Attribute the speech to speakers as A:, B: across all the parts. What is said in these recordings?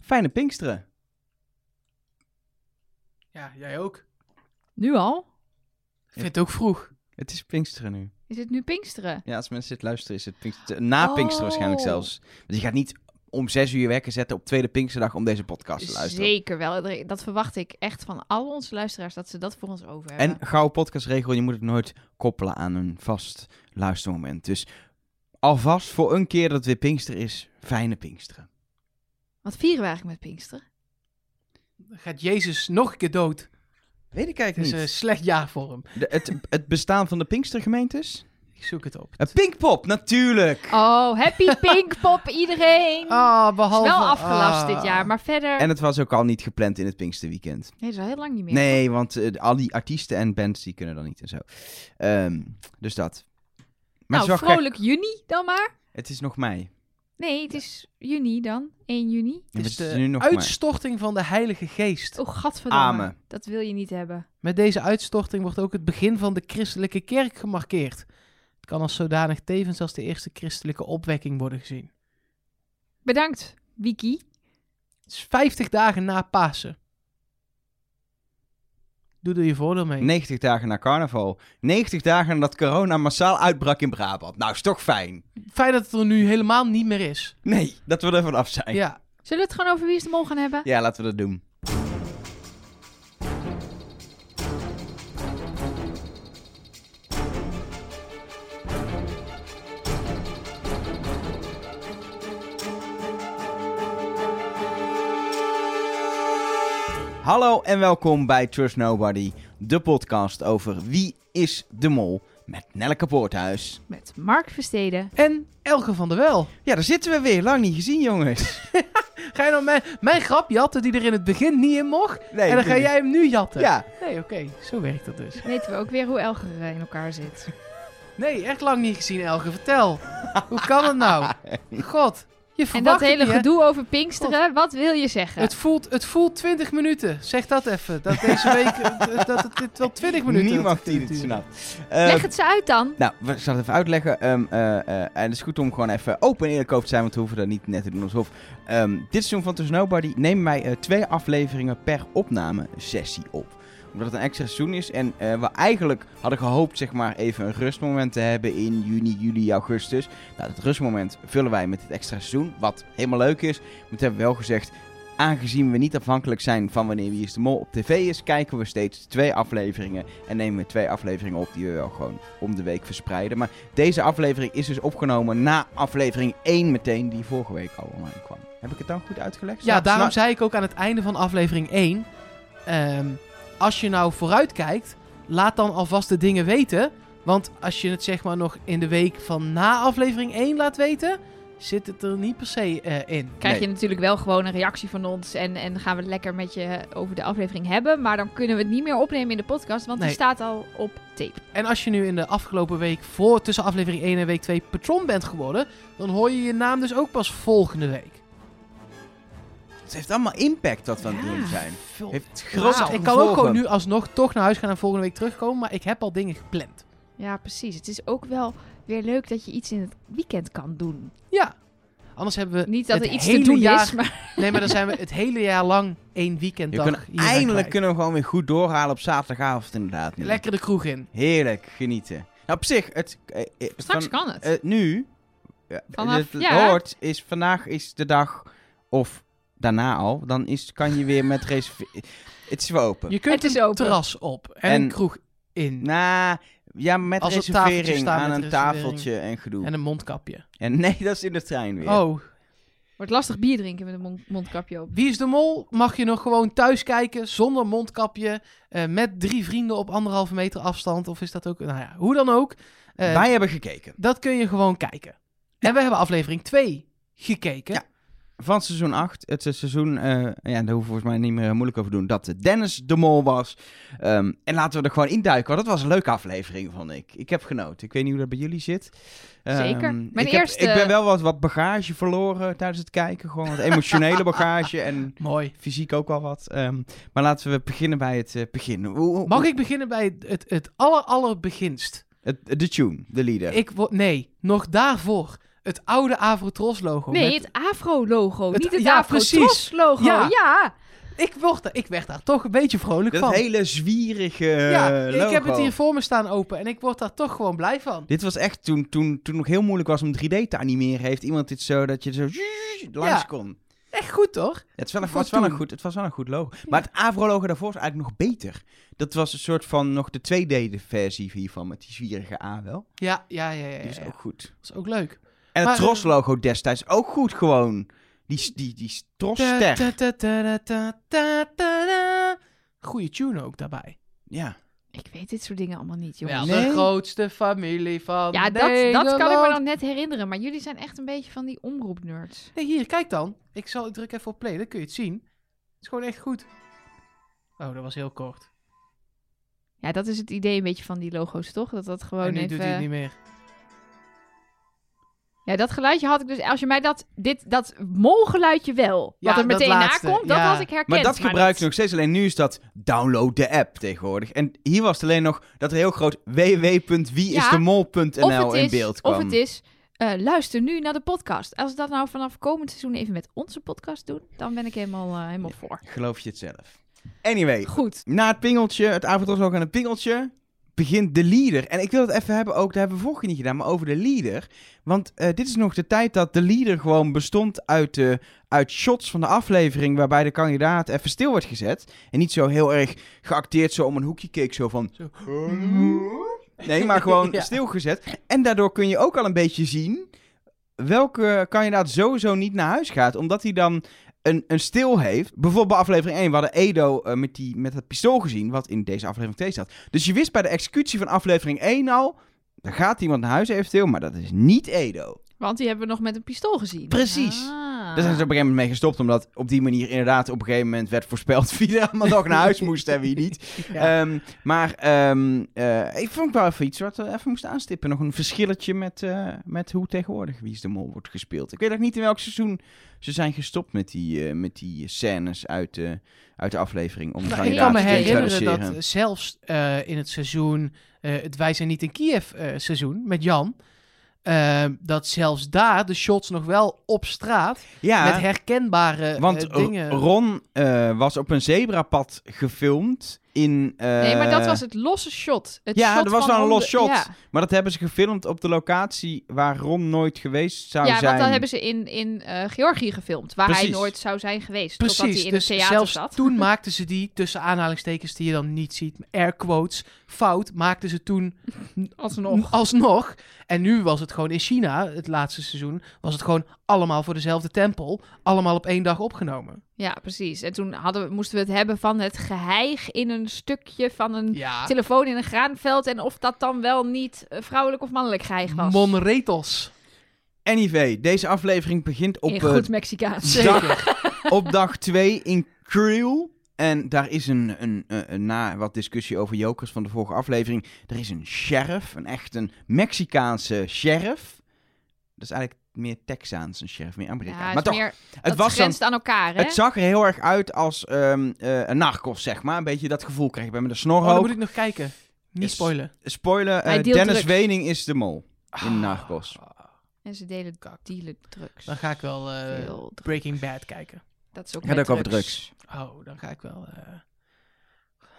A: Fijne Pinksteren.
B: Ja, jij ook.
C: Nu al?
B: Ik vind het ook vroeg.
A: Het is Pinksteren nu.
C: Is het nu Pinksteren?
A: Ja, als mensen dit luisteren, is het Pinksteren. Na Pinksteren waarschijnlijk
C: Oh.
A: zelfs. Want je gaat niet om zes uur je wekker zetten op tweede Pinksterdag om deze podcast te luisteren.
C: Zeker wel. Dat verwacht ik echt van al onze luisteraars dat ze dat voor ons over hebben.
A: En gauw podcastregel, je moet het nooit koppelen aan een vast luistermoment. Dus alvast voor een keer dat het weer Pinkster is, fijne Pinksteren.
C: Wat vieren we eigenlijk met Pinksteren?
B: Dan gaat Jezus nog een keer dood.
A: Weet ik
B: Het is
A: eigenlijk
B: een
A: niet.
B: slecht jaar voor hem.
A: eh, De- het, het bestaan van de Pinkstergemeentes?
B: Ik zoek het op.
A: Een Pinkpop, natuurlijk!
C: Oh, happy Pinkpop iedereen!
B: Ah,
C: Het is
B: behalve...
C: wel afgelast
B: ah.
C: dit jaar, maar verder...
A: En het was ook al niet gepland in het Pinksterweekend.
C: Nee, dat is al heel lang niet meer.
A: Nee, want eh, al die artiesten en bands die kunnen dan niet en zo. Ehm, dus dat. Maar het,
C: nou,
A: is wel gek.
C: vrolijk juni dan maar.
A: het is nog mei.
C: Nee, het is juni dan. 1 juni.
A: Het
B: Het
A: is
B: is de
A: nu nog mei.
B: uitstorting van de Heilige Geest.
C: Oh, gadverdamme.
A: Amen.
C: Dat wil je niet hebben.
B: Met deze uitstorting wordt ook het begin van de christelijke kerk gemarkeerd. Het kan als zodanig tevens als de eerste christelijke opwekking worden gezien.
C: Bedankt, Wiki.
B: Het is 50 dagen na Pasen. Doe er je voordeel mee.
A: 90 dagen na carnaval. 90 dagen nadat corona massaal uitbrak in Brabant. Nou, is toch fijn?
B: Fijn dat het er nu helemaal niet meer is.
A: Nee, dat we er vanaf zijn. Ja.
B: Ja,
C: Zullen we het gewoon over Wie is de Mol gaan hebben?
A: laten we dat doen. Hallo en welkom bij Trust Nobody, de podcast over wie is de mol met Nelleke Poorthuis.
C: Met Mark Versteden.
B: en Elke van der Wel.
A: Ja, daar zitten we weer. Lang niet gezien, jongens.
B: Ga je nou mijn, mijn grap jatten die er in het begin niet in mocht?
A: Nee,
B: en dan ga jij hem nu jatten?
A: Ja,
B: Nee, oké. Zo werkt dat dus.
C: Weten we ook weer hoe Elger eh, in elkaar zit.
B: Nee, echt lang niet gezien, Elke. Vertel. Hoe kan het nou? God, je verwacht
C: En dat
B: het
C: hele
B: niet, hè?
C: gedoe over Pinksteren, wat wil je zeggen?
B: Het voelt, het voelt 20 minuten. Zeg dat even. Dat deze week. eh, dat het dit wel 20 minuten.
A: niemand
B: had
A: die
B: kunnen
A: het
B: duren.
A: snapt.
C: Leg
A: Eh,
C: het ze uit dan.
A: Nou, we- ik zal het even uitleggen. Ehm, eh, eh, en het is goed om gewoon even open en eerlijk over te zijn, want we hoeven dat niet net te doen alsof. Ehm dit seizoen van The Snowbody nemen wij eh, twee afleveringen per opname sessie op. Omdat het een extra seizoen is en eh, we eigenlijk hadden gehoopt zeg maar even een rustmoment te hebben in juni, juli, augustus. Nou, dat rustmoment vullen wij met dit extra seizoen, wat helemaal leuk is. Maar dat hebben we wel gezegd, aangezien we niet afhankelijk zijn van wanneer Wie is de Mol op tv is, kijken we steeds twee afleveringen en nemen we twee afleveringen op die we wel gewoon om de week verspreiden. Maar deze aflevering is dus opgenomen na aflevering 1 meteen, die vorige week al online kwam. Heb ik het dan goed uitgelegd?
B: Ja,
A: Snap-
B: daarom
A: snap-
B: zei ik ook aan het einde van aflevering 1. ehm, als je nou vooruit kijkt, laat dan alvast de dingen weten. Want als je het zeg maar nog in de week van na aflevering 1 laat weten, zit het er niet per se eh, in.
C: Krijg
A: Nee.
C: je natuurlijk wel gewoon een reactie van ons. En, en gaan we het lekker met je over de aflevering hebben. Maar dan kunnen we het niet meer opnemen in de podcast, want
B: Nee.
C: die staat al op tape.
B: En als je nu in de afgelopen week voor tussen aflevering 1 en week 2 patron bent geworden, dan hoor je je naam dus ook pas volgende week.
A: Het heeft allemaal impact wat we aan het
C: Ja.
A: doen zijn.
B: Veel
A: Heeft grote
B: Wauw. Ik kan ook gewoon nu alsnog toch naar huis gaan en volgende week terugkomen, maar ik heb al dingen gepland.
C: Ja, precies. Het is ook wel weer leuk dat je iets in het weekend kan doen.
B: Ja. Anders hebben we
C: Niet dat
B: Eh, het
C: er iets te
B: hele
C: doen
B: jaar...
C: is, maar
B: Nee, maar dan zijn we het hele jaar lang één
A: Je
B: weekenddag.
A: kunt,
B: hieraan
A: eindelijk
B: kwijt.
A: kunnen we gewoon weer goed doorhalen op zaterdagavond inderdaad. nu.
B: Lekker de kroeg in.
A: Heerlijk, genieten. Nou, op zich, het, eh, eh,
C: straks
A: van-
C: kan het.
A: eh, nu, eh,
C: Vanaf-
A: het
C: ja.
A: hoort, is vandaag is de dag, of daarna al, dan is, kan je weer met reserveren. Het is weer open.
B: Je kunt
C: Het is
B: een
C: open.
B: terras op en,
A: En-
B: een kroeg in.
A: Na, ja, met
B: Als op tafeltjes
A: reservering
B: staan
A: aan
B: met
A: een
B: reservering.
A: tafeltje en gedoe.
B: En
A: En,
B: een mondkapje.
A: nee, dat is in de trein weer.
B: Oh,
C: Wordt lastig bier drinken met een mond- mondkapje op.
B: Wie is de Mol mag je nog gewoon thuis kijken zonder mondkapje. eh, met drie vrienden op anderhalve meter afstand. Of is dat ook... Nou ja, hoe dan ook. eh,
A: Wij hebben gekeken.
B: Dat kun je gewoon kijken. En we hebben aflevering 2 gekeken.
A: Ja. Van seizoen 8, het is seizoen, eh, ja, daar hoeven we volgens mij niet meer eh, moeilijk over te doen, dat Dennis de Mol was. Ehm, en laten we er gewoon induiken, want dat was een leuke aflevering, vond ik. Ik heb genoten. Ik weet niet hoe dat bij jullie zit. Ehm,
C: Zeker. Mijn
A: ik heb-
C: eerste-
A: ik ben wel wat, wat bagage verloren tijdens het kijken, gewoon wat emotionele bagage en
B: Mooi.
A: fysiek ook wel wat. Ehm, maar laten we beginnen bij het eh, begin. Hoe- hoe-
B: Mag ik beginnen bij het, het, het aller, allerbeginst?
A: Het, de tune, de leader.
B: Ik word... Nee, nog daarvoor. het oude Avrotros-logo.
C: Nee,
B: met-
C: het Afro-logo,
B: Het-
C: niet het
B: ja,
C: ja,
B: precies.
C: Afro-logo.
B: Ja.
C: Ja.
B: ik, word, er- ik werd daar toch een beetje vrolijk van.
A: Dat hele zwierige eh,
B: ja,
A: logo.
B: ik heb het hier voor me staan open en ik word daar toch gewoon blij van.
A: Dit was echt toen, toen, toen het nog heel moeilijk was om 3D te animeren. Heeft iemand dit zo dat je zo langs
B: Ja.
A: kon?
B: Echt goed, toch?
A: Ja, het, was wel een,
B: Voor
A: was wel een
B: toen.
A: goed, het was wel een goed logo. Maar het Avro-logo daarvoor is eigenlijk nog beter. Dat was een soort van nog de 2D-versie hiervan met die zwierige A wel.
B: Ja, ja, ja, ja. ja,
A: Die is
B: ja.
A: ook goed.
B: Dat is ook leuk.
A: En
B: Maar,
A: het Tros-logo destijds ook goed gewoon. Die, s- die, die s- Tros-ster.
B: Ta- ta- ta- ta- ta- ta- ta- ta. Goeie tune ook daarbij.
A: Ja.
C: Ik weet dit soort dingen allemaal niet, jongens.
B: Wel
A: nee.
B: de grootste familie van
C: Ja, dat, dat kan ik me
B: Nederland.
C: dan net herinneren. Maar jullie zijn echt een beetje van die omroepnerds.
B: Nee, hier, kijk dan. Ik, zal, ik druk even op play, dan kun je het zien. Het is gewoon echt goed. Oh, dat was heel kort.
C: Ja, dat is het idee een beetje van die logo's, toch? Dat dat gewoon
B: en nu
C: even...
B: doet hij het niet meer.
C: Ja, dat geluidje had ik dus... Als je mij dat, dit, dat molgeluidje wel,
B: Ja,
C: wat er
B: dat
C: meteen
B: laatste,
C: na komt, dat
B: ja.
C: had ik herkend.
A: Maar dat gebruik je
C: dat-
A: nog steeds. Alleen nu is dat download de app tegenwoordig. En hier was het alleen nog dat er heel groot www.wieisdemol.nl
C: Of het
A: in
C: is-
A: beeld kwam.
C: Of het is, eh, luister nu naar de podcast. Als we dat nou vanaf komend seizoen even met onze podcast doen, dan ben ik helemaal, eh, helemaal voor.
A: Geloof je het zelf. Anyway,
C: Goed.
A: na het pingeltje, het avondrosloog en het pingeltje, begint de leader. En ik wil het even hebben ook, dat hebben we vorige keer niet gedaan, maar over de leader. Want eh, dit is nog de tijd dat de leader gewoon bestond uit, de uit shots van de aflevering... waarbij de kandidaat even stil wordt gezet. En niet zo heel erg geacteerd zo om een hoekje keek, zo van...
B: Zo.
A: Oh, Nee, maar gewoon
B: Ja.
A: stilgezet. En daardoor kun je ook al een beetje zien... welke kandidaat sowieso niet naar huis gaat. Omdat hij dan een, een stil heeft. Bijvoorbeeld bij aflevering 1, we hadden Edo eh, met, die, met dat pistool gezien, wat in deze aflevering 2 staat. Dus je wist bij de executie van aflevering 1 al, dan gaat iemand naar huis eventueel, maar dat is niet Edo.
C: Want die hebben we nog met een pistool gezien.
A: Precies.
C: Ah.
A: Daar zijn ze op een gegeven moment mee gestopt, omdat op die manier inderdaad op een gegeven moment werd voorspeld wie er allemaal nog naar huis moest en wie niet.
B: Ja.
A: Ehm, maar ehm, eh, ik vond wel even iets wat we even moesten aanstippen. Nog een verschilletje met, eh, met hoe tegenwoordig Wie is de Mol wordt gespeeld. Ik weet ook niet in welk seizoen ze zijn gestopt met die, eh, met die scènes uit, eh, uit de aflevering. Om
B: Nou, ik
A: kandidaten
B: kan me
A: te
B: herinneren
A: introduceren.
B: dat zelfs eh, in het seizoen, eh, het Wij zijn niet in Kiev eh, seizoen met Jan, eh, dat zelfs daar de shots nog wel op straat
A: Ja,
B: met herkenbare eh,
A: want R-
B: dingen.
A: Ron eh, was op een zebrapad gefilmd in... eh,
C: Nee, maar dat was het losse shot. Het
A: Ja,
C: shot
A: er was
C: van
A: wel een
C: onder-
A: los shot.
C: Ja,
A: Maar dat hebben ze gefilmd op de locatie waar Ron nooit geweest zou
C: ja
A: zijn.
C: want dat hebben ze in, in eh, Georgië gefilmd, waar hij
A: Precies.
C: nooit zou zijn geweest. totdat hij
B: Precies,
C: in
B: dus
C: het theater
B: zelfs
C: zat.
B: toen maakten ze die, tussen aanhalingstekens die je dan niet ziet, air quotes, fout, maakten ze toen
C: Alsnog.
B: alsnog. En nu was het gewoon in China, het laatste seizoen, was het gewoon allemaal voor dezelfde tempel, allemaal op één dag opgenomen.
C: Ja, precies. En toen hadden, we- moesten we het hebben van het geheig in een stukje van een
B: Ja,
C: telefoon in een graanveld. En of dat dan wel niet eh, vrouwelijk of mannelijk geheig was.
B: monretos.
A: Anyway, deze aflevering begint op,
C: in
A: eh,
C: goed Mexicaans.
B: Zeker.
A: op dag 2 in Creel. En daar is een, een, eh, een, een- na wat discussie over jokers van de vorige aflevering. Er is een sheriff, een echt een Mexicaanse sheriff. Dat is eigenlijk meer Texaans een sheriff, meer
C: Ja,
A: Amerikaans.
C: het,
A: maar toch,
C: is meer,
A: het
C: dat
A: was dan
C: grenst aan elkaar, hè?
A: Het zag er heel erg uit als ehm, eh, een narcos, zeg maar. Een beetje dat gevoel kreeg ik bij met een snor
B: Oh, dan
A: ook.
B: moet ik nog kijken. Niet
A: Yes.
B: spoilen.
A: Spoiler, eh,
C: Hij deelt
A: Dennis
C: drugs. Ah.
A: Wening is de mol in Narcos.
C: En ze delen, dealen drugs.
B: Ah, Dan ga ik wel eh,
C: Veel drugs.
B: Breaking Bad kijken.
C: Dat is ook,
A: Gaat
C: met
A: ook over drugs.
B: Oh, dan ga ik wel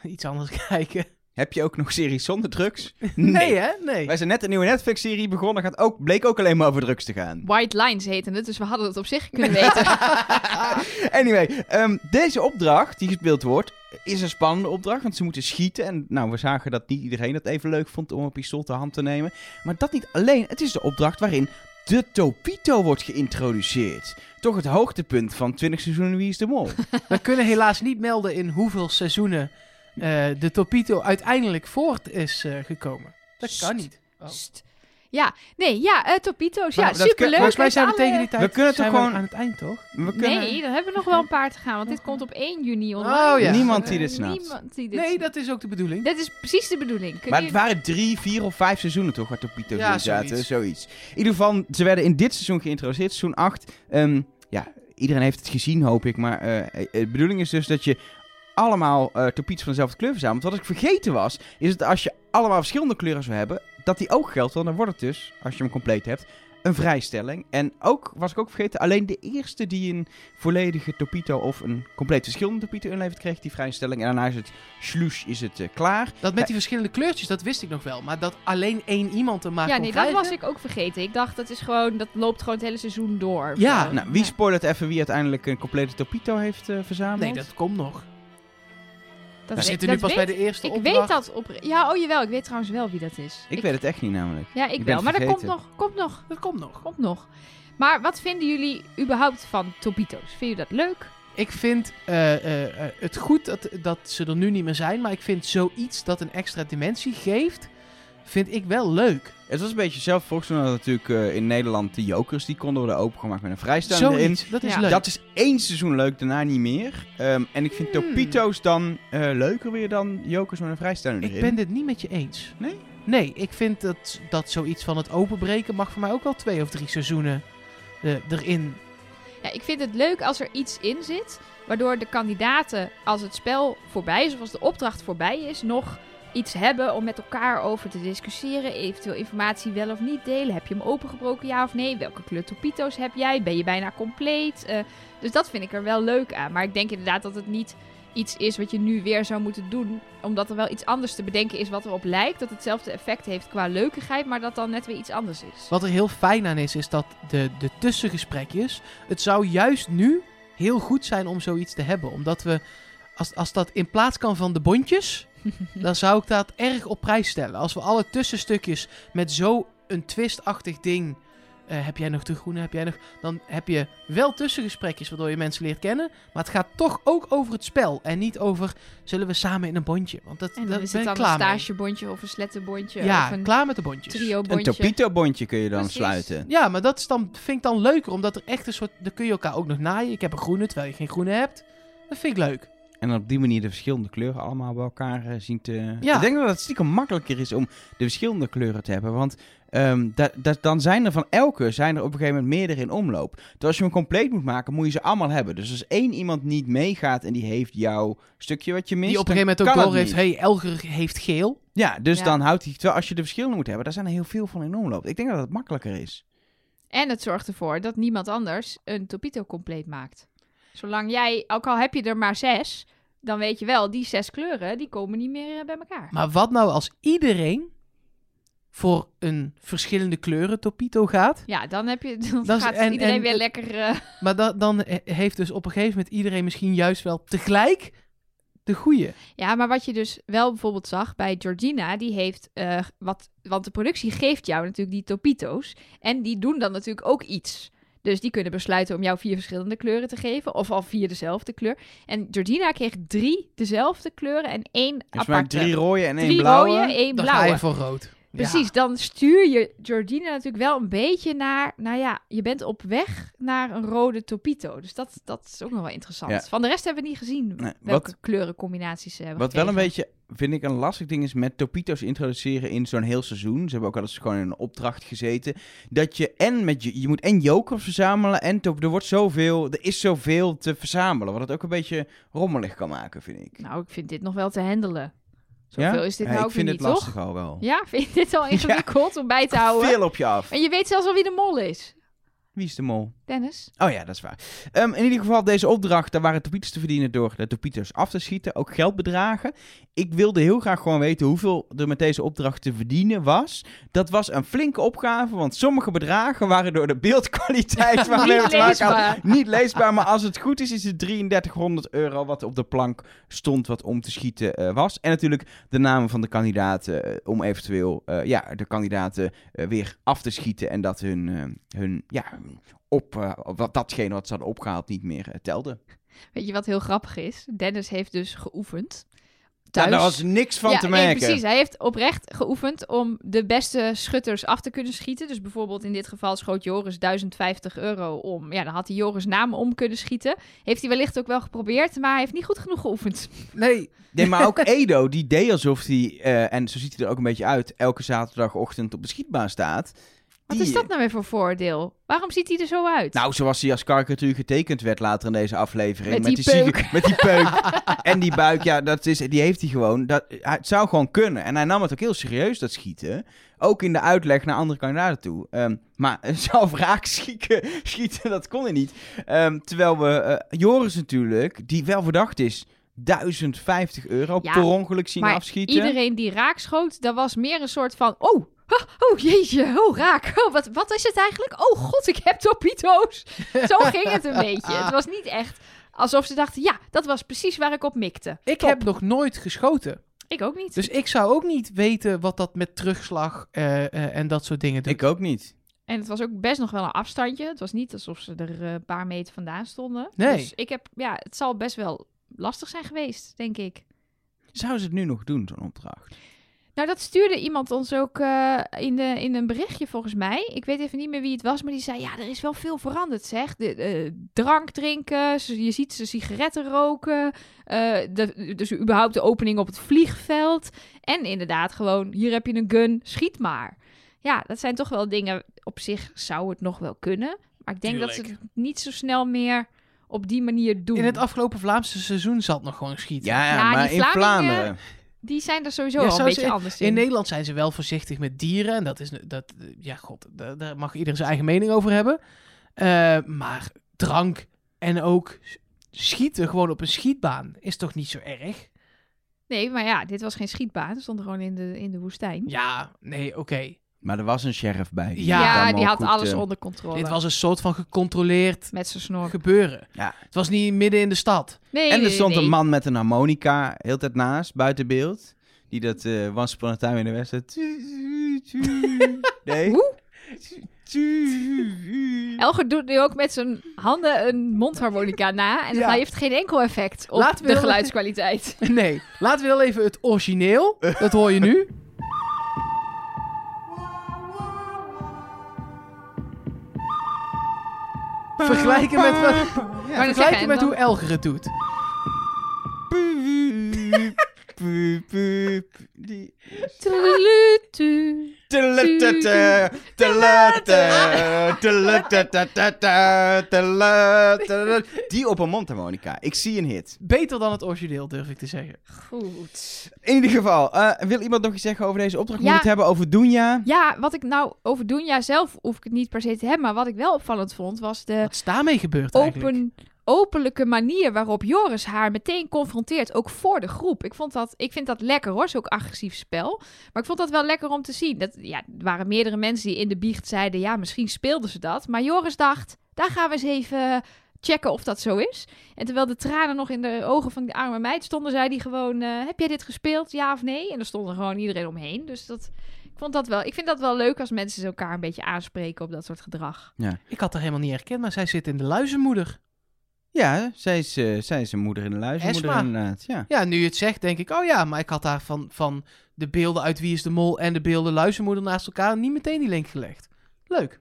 B: eh, iets anders kijken.
A: Heb je ook nog series zonder drugs? Nee.
B: hè? Nee.
A: Wij zijn net een nieuwe Netflix-serie begonnen. Gaat ook, bleek ook alleen maar over drugs te gaan.
C: White Lines heten het, dus we hadden het op zich kunnen weten.
A: Anyway, ehm, deze opdracht die gespeeld wordt, is een spannende opdracht. Want ze moeten schieten. En nou, we zagen dat niet iedereen dat even leuk vond om een pistool ter hand te nemen. Maar dat niet alleen. Het is de opdracht waarin de Topito wordt geïntroduceerd. Toch het hoogtepunt van 20 seizoenen Wie is de Mol.
B: We kunnen helaas niet melden in hoeveel seizoenen eh, de Topito uiteindelijk voort is eh, gekomen. Dat kan niet. Oh.
C: Pst. Ja, nee, ja, eh, Topito's. Ja,
A: Maar dat kun-
C: superleuk.
B: Nou, Volgens mij zijn we
C: Met
B: tegen
C: alle-
B: die tijd
A: We kunnen
B: zijn
A: toch
B: we
A: gewoon-
B: aan het eind, toch?
A: We kunnen...
C: Nee, dan hebben we nog wel een paar te gaan, want dit komt op 1 juni online.
B: Oh, ja.
A: Niemand die
C: Eh,
A: dit snapt.
C: Niemand die dit
B: Nee, dat is ook de bedoeling.
C: Dit is precies de bedoeling. Kun
A: Maar
C: je-
A: het waren drie, vier of vijf seizoenen toch, waar Topito's
B: Ja,
A: in zaten.
B: zoiets.
A: Zoiets. In ieder geval, ze werden in dit seizoen geïntroduceerd, seizoen 8. Ehm, ja, iedereen heeft het gezien, hoop ik. Maar eh, de bedoeling is dus dat je allemaal eh Topito's van dezelfde kleur verzamelt. Wat ik vergeten was, is dat als je allemaal verschillende kleuren zou hebben, dat die ook geldt. Want dan wordt het dus, als je hem compleet hebt, een vrijstelling. En ook, was ik ook vergeten, alleen de eerste die een volledige Topito of een compleet verschillende Topito inlevert, kreeg die vrijstelling. En daarna is het slush, is het eh, klaar.
B: Dat met die verschillende kleurtjes, dat wist ik nog wel. Maar dat alleen één iemand hem maar
C: Ja,
B: kon
C: nee, dat
B: krijgen?
C: was ik ook vergeten. Ik dacht, dat is gewoon, dat loopt gewoon het hele seizoen door.
B: Ja,
C: Gewoon.
A: Nou, wie spoilert even wie uiteindelijk een complete Topito heeft eh, verzameld?
B: Nee, dat komt nog.
C: dat
B: We
C: weet-
B: zitten nu
C: dat
B: pas bij
C: weet-
B: de eerste
C: Ik
B: opdracht.
C: weet dat op... Ja, oh jawel, ik weet trouwens wel wie dat is.
A: Ik weet het echt niet namelijk.
C: Ja, ik,
A: Ik ben
C: wel, maar dat komt
A: vergeten.
C: nog, komt nog,
B: Dat komt nog.
C: komt nog. Maar wat vinden jullie überhaupt van Topito's? Vind je dat leuk?
B: Ik vind eh, eh, eh, het goed dat, dat ze er nu niet meer zijn. Maar ik vind zoiets dat een extra dimensie geeft, vind ik wel leuk.
A: Het was een beetje zelf. Volgens mij hadden natuurlijk eh, in Nederland de jokers. Die konden worden opengemaakt met een vrijstelling erin.
B: Zoiets, dat is
C: Ja.
B: leuk.
A: Dat is één seizoen leuk, daarna niet meer. Ehm, en ik vind
B: Hmm.
A: Topito's dan eh, leuker weer dan jokers met een vrijstelling
B: ik
A: erin.
B: ben dit niet met je eens.
A: Nee?
B: Nee, ik vind dat, dat zoiets van het openbreken mag voor mij ook wel twee of drie seizoenen eh, erin.
C: Ja, ik vind het leuk als er iets in zit, waardoor de kandidaten, als het spel voorbij is of als de opdracht voorbij is, nog iets hebben om met elkaar over te discussiëren. Eventueel informatie wel of niet delen. Heb je hem opengebroken, ja of nee? Welke kleur topito's heb jij? Ben je bijna compleet? Eh, dus dat vind ik er wel leuk aan. Maar ik denk inderdaad dat het niet iets is wat je nu weer zou moeten doen. Omdat er wel iets anders te bedenken is wat erop lijkt. Dat hetzelfde effect heeft qua leukigheid, maar dat dan net weer iets anders is.
B: Wat er heel fijn aan is, is dat de, de tussengesprekjes. Het zou juist nu heel goed zijn om zoiets te hebben. Omdat we, als, als dat in plaats kan van de bondjes, dan zou ik dat erg op prijs stellen. Als we alle tussenstukjes met zo'n twistachtig ding. eh, heb jij nog de groene? Heb jij nog. Dan heb je wel tussengesprekjes waardoor je mensen leert kennen. Maar het gaat toch ook over het spel. En niet over zullen we samen in een bondje. Want dat,
C: En
B: dat
C: dan is
B: ben
C: het
B: ik
C: dan een
B: klaar mee.
C: stagebondje of een slettenbondje
B: Ja,
C: of een
B: klaar met de bondjes.
A: Een
C: trio-bondje.
A: Topito-bondje kun je dan
C: Precies.
A: sluiten.
B: Ja, maar dat is dan, vind ik dan leuker, omdat er echt een soort... Dan kun je elkaar ook nog naaien. Ik heb een groene, terwijl je geen groene hebt. Dat vind ik leuk.
A: En dan op die manier de verschillende kleuren allemaal bij elkaar eh, zien te...
B: Ja.
A: Ik denk dat het stiekem makkelijker is om de verschillende kleuren te hebben. Want ehm, da- da- dan zijn er van elke zijn er op een gegeven moment meerdere in omloop. Dus als je hem compleet moet maken, moet je ze allemaal hebben. Dus als één iemand niet meegaat en die heeft jouw stukje wat je mist...
B: Die op een
A: dan
B: gegeven moment
A: kan
B: ook
A: het
B: door heeft...
A: niet.
B: hey, Elger heeft geel.
A: Ja, dus
C: Ja.
A: dan houdt hij... Terwijl als je de verschillende moet hebben, daar zijn er heel veel van in omloop. Ik denk dat het makkelijker is.
C: En het zorgt ervoor dat niemand anders een topito compleet maakt. Zolang jij, ook al heb je er maar zes, dan weet je wel, die zes kleuren, die komen niet meer eh, bij elkaar.
B: Maar wat nou als iedereen voor een verschillende kleuren topito gaat?
C: Ja, dan, heb je, dan
B: Dat is-
C: gaat
B: en-
C: iedereen
B: en-
C: weer lekker... eh,
B: Maar da- dan he- heeft dus op een gegeven moment iedereen misschien juist wel tegelijk de goede.
C: Ja, maar wat je dus wel bijvoorbeeld zag bij Georgina, die heeft eh, wat, want de productie geeft jou natuurlijk die topito's en die doen dan natuurlijk ook iets. Dus die kunnen besluiten om jou vier verschillende kleuren te geven of al vier dezelfde kleur. En Georgina kreeg drie dezelfde kleuren en één
A: Dus maar
C: aparte.
A: drie rode en één
C: Drie
A: blauwe.
C: rode, één
B: Dan
C: blauwe.
B: ga je voor rood. Ja.
C: Precies, dan stuur je Georgina natuurlijk wel een beetje naar... Nou ja, je bent op weg naar een rode topito. Dus dat, dat is ook nog wel interessant.
A: Ja.
C: Van de rest hebben we niet gezien
A: Nee,
C: welke
A: wat-
C: kleurencombinaties ze hebben
A: Wat wel een
C: gekregen.
A: beetje, vind ik, een lastig ding is met Topito's introduceren in zo'n heel seizoen. Ze hebben ook wel eens gewoon in een opdracht gezeten. Dat je en met je, je moet en jokers verzamelen en top, er wordt zoveel, er is zoveel te verzamelen. Wat het ook een beetje rommelig kan maken, vind ik.
C: Nou, ik vind dit nog wel te handelen. Zoveel is
A: Ja,
C: dit nou
A: ik
C: ook
A: vind
C: weer
A: het
C: niet,
A: lastig
C: toch?
A: al wel.
C: Ja, vind je dit al ingewikkeld om bij te houden?
A: Veel op je af.
C: En je weet zelfs al wie de mol is.
A: Wie is de mol?
C: Dennis?
A: Oh ja, dat is waar. Ehm, in ieder geval, deze opdracht, daar waren topieters te verdienen door de topieters af te schieten. Ook geldbedragen. Ik wilde heel graag gewoon weten hoeveel er met deze opdracht te verdienen was. Dat was een flinke opgave, want sommige bedragen waren door de beeldkwaliteit waarmee we
C: Niet
A: te maken hadden,
C: leesbaar.
A: niet leesbaar. Maar als het goed is, is het 3300 euro wat op de plank stond wat om te schieten eh, was. En natuurlijk de namen van de kandidaten eh, om eventueel eh, ja, de kandidaten eh, weer af te schieten. En dat hun, eh, hun ja, hun op, eh, wat, datgene wat ze hadden opgehaald niet meer eh, telde.
C: Weet je wat heel grappig is? Dennis heeft dus geoefend.
A: Ja, nou,
C: Thuis.
A: daar was niks van
C: ja,
A: te
C: nee,
A: merken.
C: precies. Hij heeft oprecht geoefend om de beste schutters af te kunnen schieten. Dus bijvoorbeeld in dit geval schoot Joris 1050 euro om. Ja, dan had hij Joris naam om kunnen schieten. Heeft hij wellicht ook wel geprobeerd, maar hij heeft niet goed genoeg geoefend.
B: Nee,
A: Nee, maar ook Edo, die deed alsof hij, eh, en zo ziet hij er ook een beetje uit, elke zaterdagochtend op de schietbaan staat.
C: Wat is dat nou weer voor voordeel? Waarom ziet hij er zo uit?
A: Nou, zoals hij als karikatuur getekend werd later in deze aflevering.
C: Met die
A: zieke- met die peuk. en die buik, ja, dat is, die heeft hij gewoon. Dat, hij- het zou gewoon kunnen. En hij nam het ook heel serieus, dat schieten. Ook in de uitleg naar andere kandidaten toe. Ehm, maar zelf raak schieken, schieten, dat kon hij niet. Ehm, terwijl we eh, Joris natuurlijk, die wel verdacht is, 1050 euro
C: Ja,
A: per ongeluk zien
C: maar
A: afschieten.
C: Iedereen die raak schoot, dat was meer een soort van... Oh, ha, oh jeetje, oh raak. Oh, wat, wat is het eigenlijk? Oh god, ik heb torpedo's. Zo ging het een beetje. Het was niet echt alsof ze dachten... Ja, dat was precies waar ik op mikte.
B: Ik
C: Top.
B: heb nog nooit geschoten.
C: Ik ook niet.
B: Dus ik zou ook niet weten wat dat met terugslag eh, eh, en dat soort dingen doet.
A: Ik ook niet.
C: En het was ook best nog wel een afstandje. Het was niet alsof ze er eh, een paar meter vandaan stonden.
B: Nee.
C: Dus ik heb, ja, het zal best wel lastig zijn geweest, denk ik.
A: Zou ze het nu nog doen, zo'n opdracht?
C: Nou, dat stuurde iemand ons ook eh, in, de, in een berichtje volgens mij. Ik weet even niet meer wie het was, maar die zei: Ja, er is wel veel veranderd, zeg. De, eh, drank drinken, ze- je ziet ze sigaretten roken. eh, de, dus überhaupt de opening op het vliegveld. En inderdaad, gewoon: hier heb je een gun, schiet maar. Ja, dat zijn toch wel dingen. Op zich zou het nog wel kunnen. Maar ik denk dat ze
D: Tuurlijk.
C: het niet zo snel meer op die manier doen.
B: In het afgelopen Vlaamse seizoen zat nog gewoon schieten.
A: Ja,
C: Ja,
A: maar
C: die
A: in
C: Vlamingen-
A: Vlaanderen.
C: Die zijn er sowieso
B: Ja,
C: al een
B: zou ze-
C: beetje anders in.
B: In Nederland zijn ze wel voorzichtig met dieren. En dat is, dat, ja, god, daar, daar mag ieder zijn eigen mening over hebben. Eh, maar drank en ook schieten gewoon op een schietbaan is toch niet zo erg?
C: Nee, maar ja, dit was geen schietbaan. Ze stonden gewoon in de, in de woestijn.
B: Ja, nee, oké.
A: Maar er was een sheriff bij.
B: Ja,
C: Ja,
A: het allemaal
C: die had
A: goed,
C: alles
A: eh,
C: onder controle.
B: Dit was een soort van gecontroleerd
C: met zijn snor.
B: gebeuren.
A: Ja.
B: Het was niet midden in de stad.
C: Nee,
A: En er
C: nee,
A: stond
C: nee.
A: een man met een harmonica heel de tijd naast, buiten beeld. Die dat eh Once Upon a Time in de West. Nee.
C: Hoe?
A: Hoe?
C: Elger doet nu ook met zijn handen een mondharmonica na. En
A: Ja.
C: hij heeft geen enkel effect op
B: Laten we
C: de
B: heel-
C: geluidskwaliteit.
B: Nee, laten we heel even het origineel. Dat hoor je nu. Vergelijken met, wat-
C: Maar dan zeggen,
B: vergelijken
C: en
B: met
C: dan-
B: hoe Elger het doet.
A: Die...
C: Tudelutu.
A: Telutete, telutete, telutete, telutete. Die op een mondharmonica. Ik zie een hit.
B: Beter dan het origineel, durf ik te zeggen.
C: Goed.
A: In ieder geval, eh, wil iemand nog iets zeggen over deze opdracht?
C: Ja.
A: Moet het hebben over Dunja?
C: Ja, wat ik nou over Doenja zelf hoef ik het niet per se te hebben. Maar wat ik wel opvallend vond, was de
B: Wat is daarmee gebeurd eigenlijk?
C: Eh, open, openlijke manier waarop Joris haar meteen confronteert, ook voor de groep. Ik, vond dat, ik vind dat lekker hoor, zo'n agressief spel. Maar ik vond dat wel lekker om te zien. Dat, ja, er waren meerdere mensen die in de biecht zeiden, ja, misschien speelden ze dat. Maar Joris dacht, daar gaan we eens even checken of dat zo is. En terwijl de tranen nog in de ogen van die arme meid stonden, zei die gewoon, eh, heb jij dit gespeeld, ja of nee? En er stond er gewoon iedereen omheen, dus dat... Ik, vond dat wel, ik vind dat wel leuk als mensen elkaar een beetje aanspreken op dat soort gedrag.
B: Ik had haar helemaal niet herkend, maar zij zit in de luizenmoeder.
A: Ja, zij is, eh, zij is een moeder in de luizenmoeder
B: Esma.
A: inderdaad. Ja.
B: Ja, nu je het zegt, denk ik, oh ja, maar ik had daar van, van de beelden uit Wie is de Mol en de beelden luizenmoeder naast elkaar niet meteen die link gelegd. Leuk.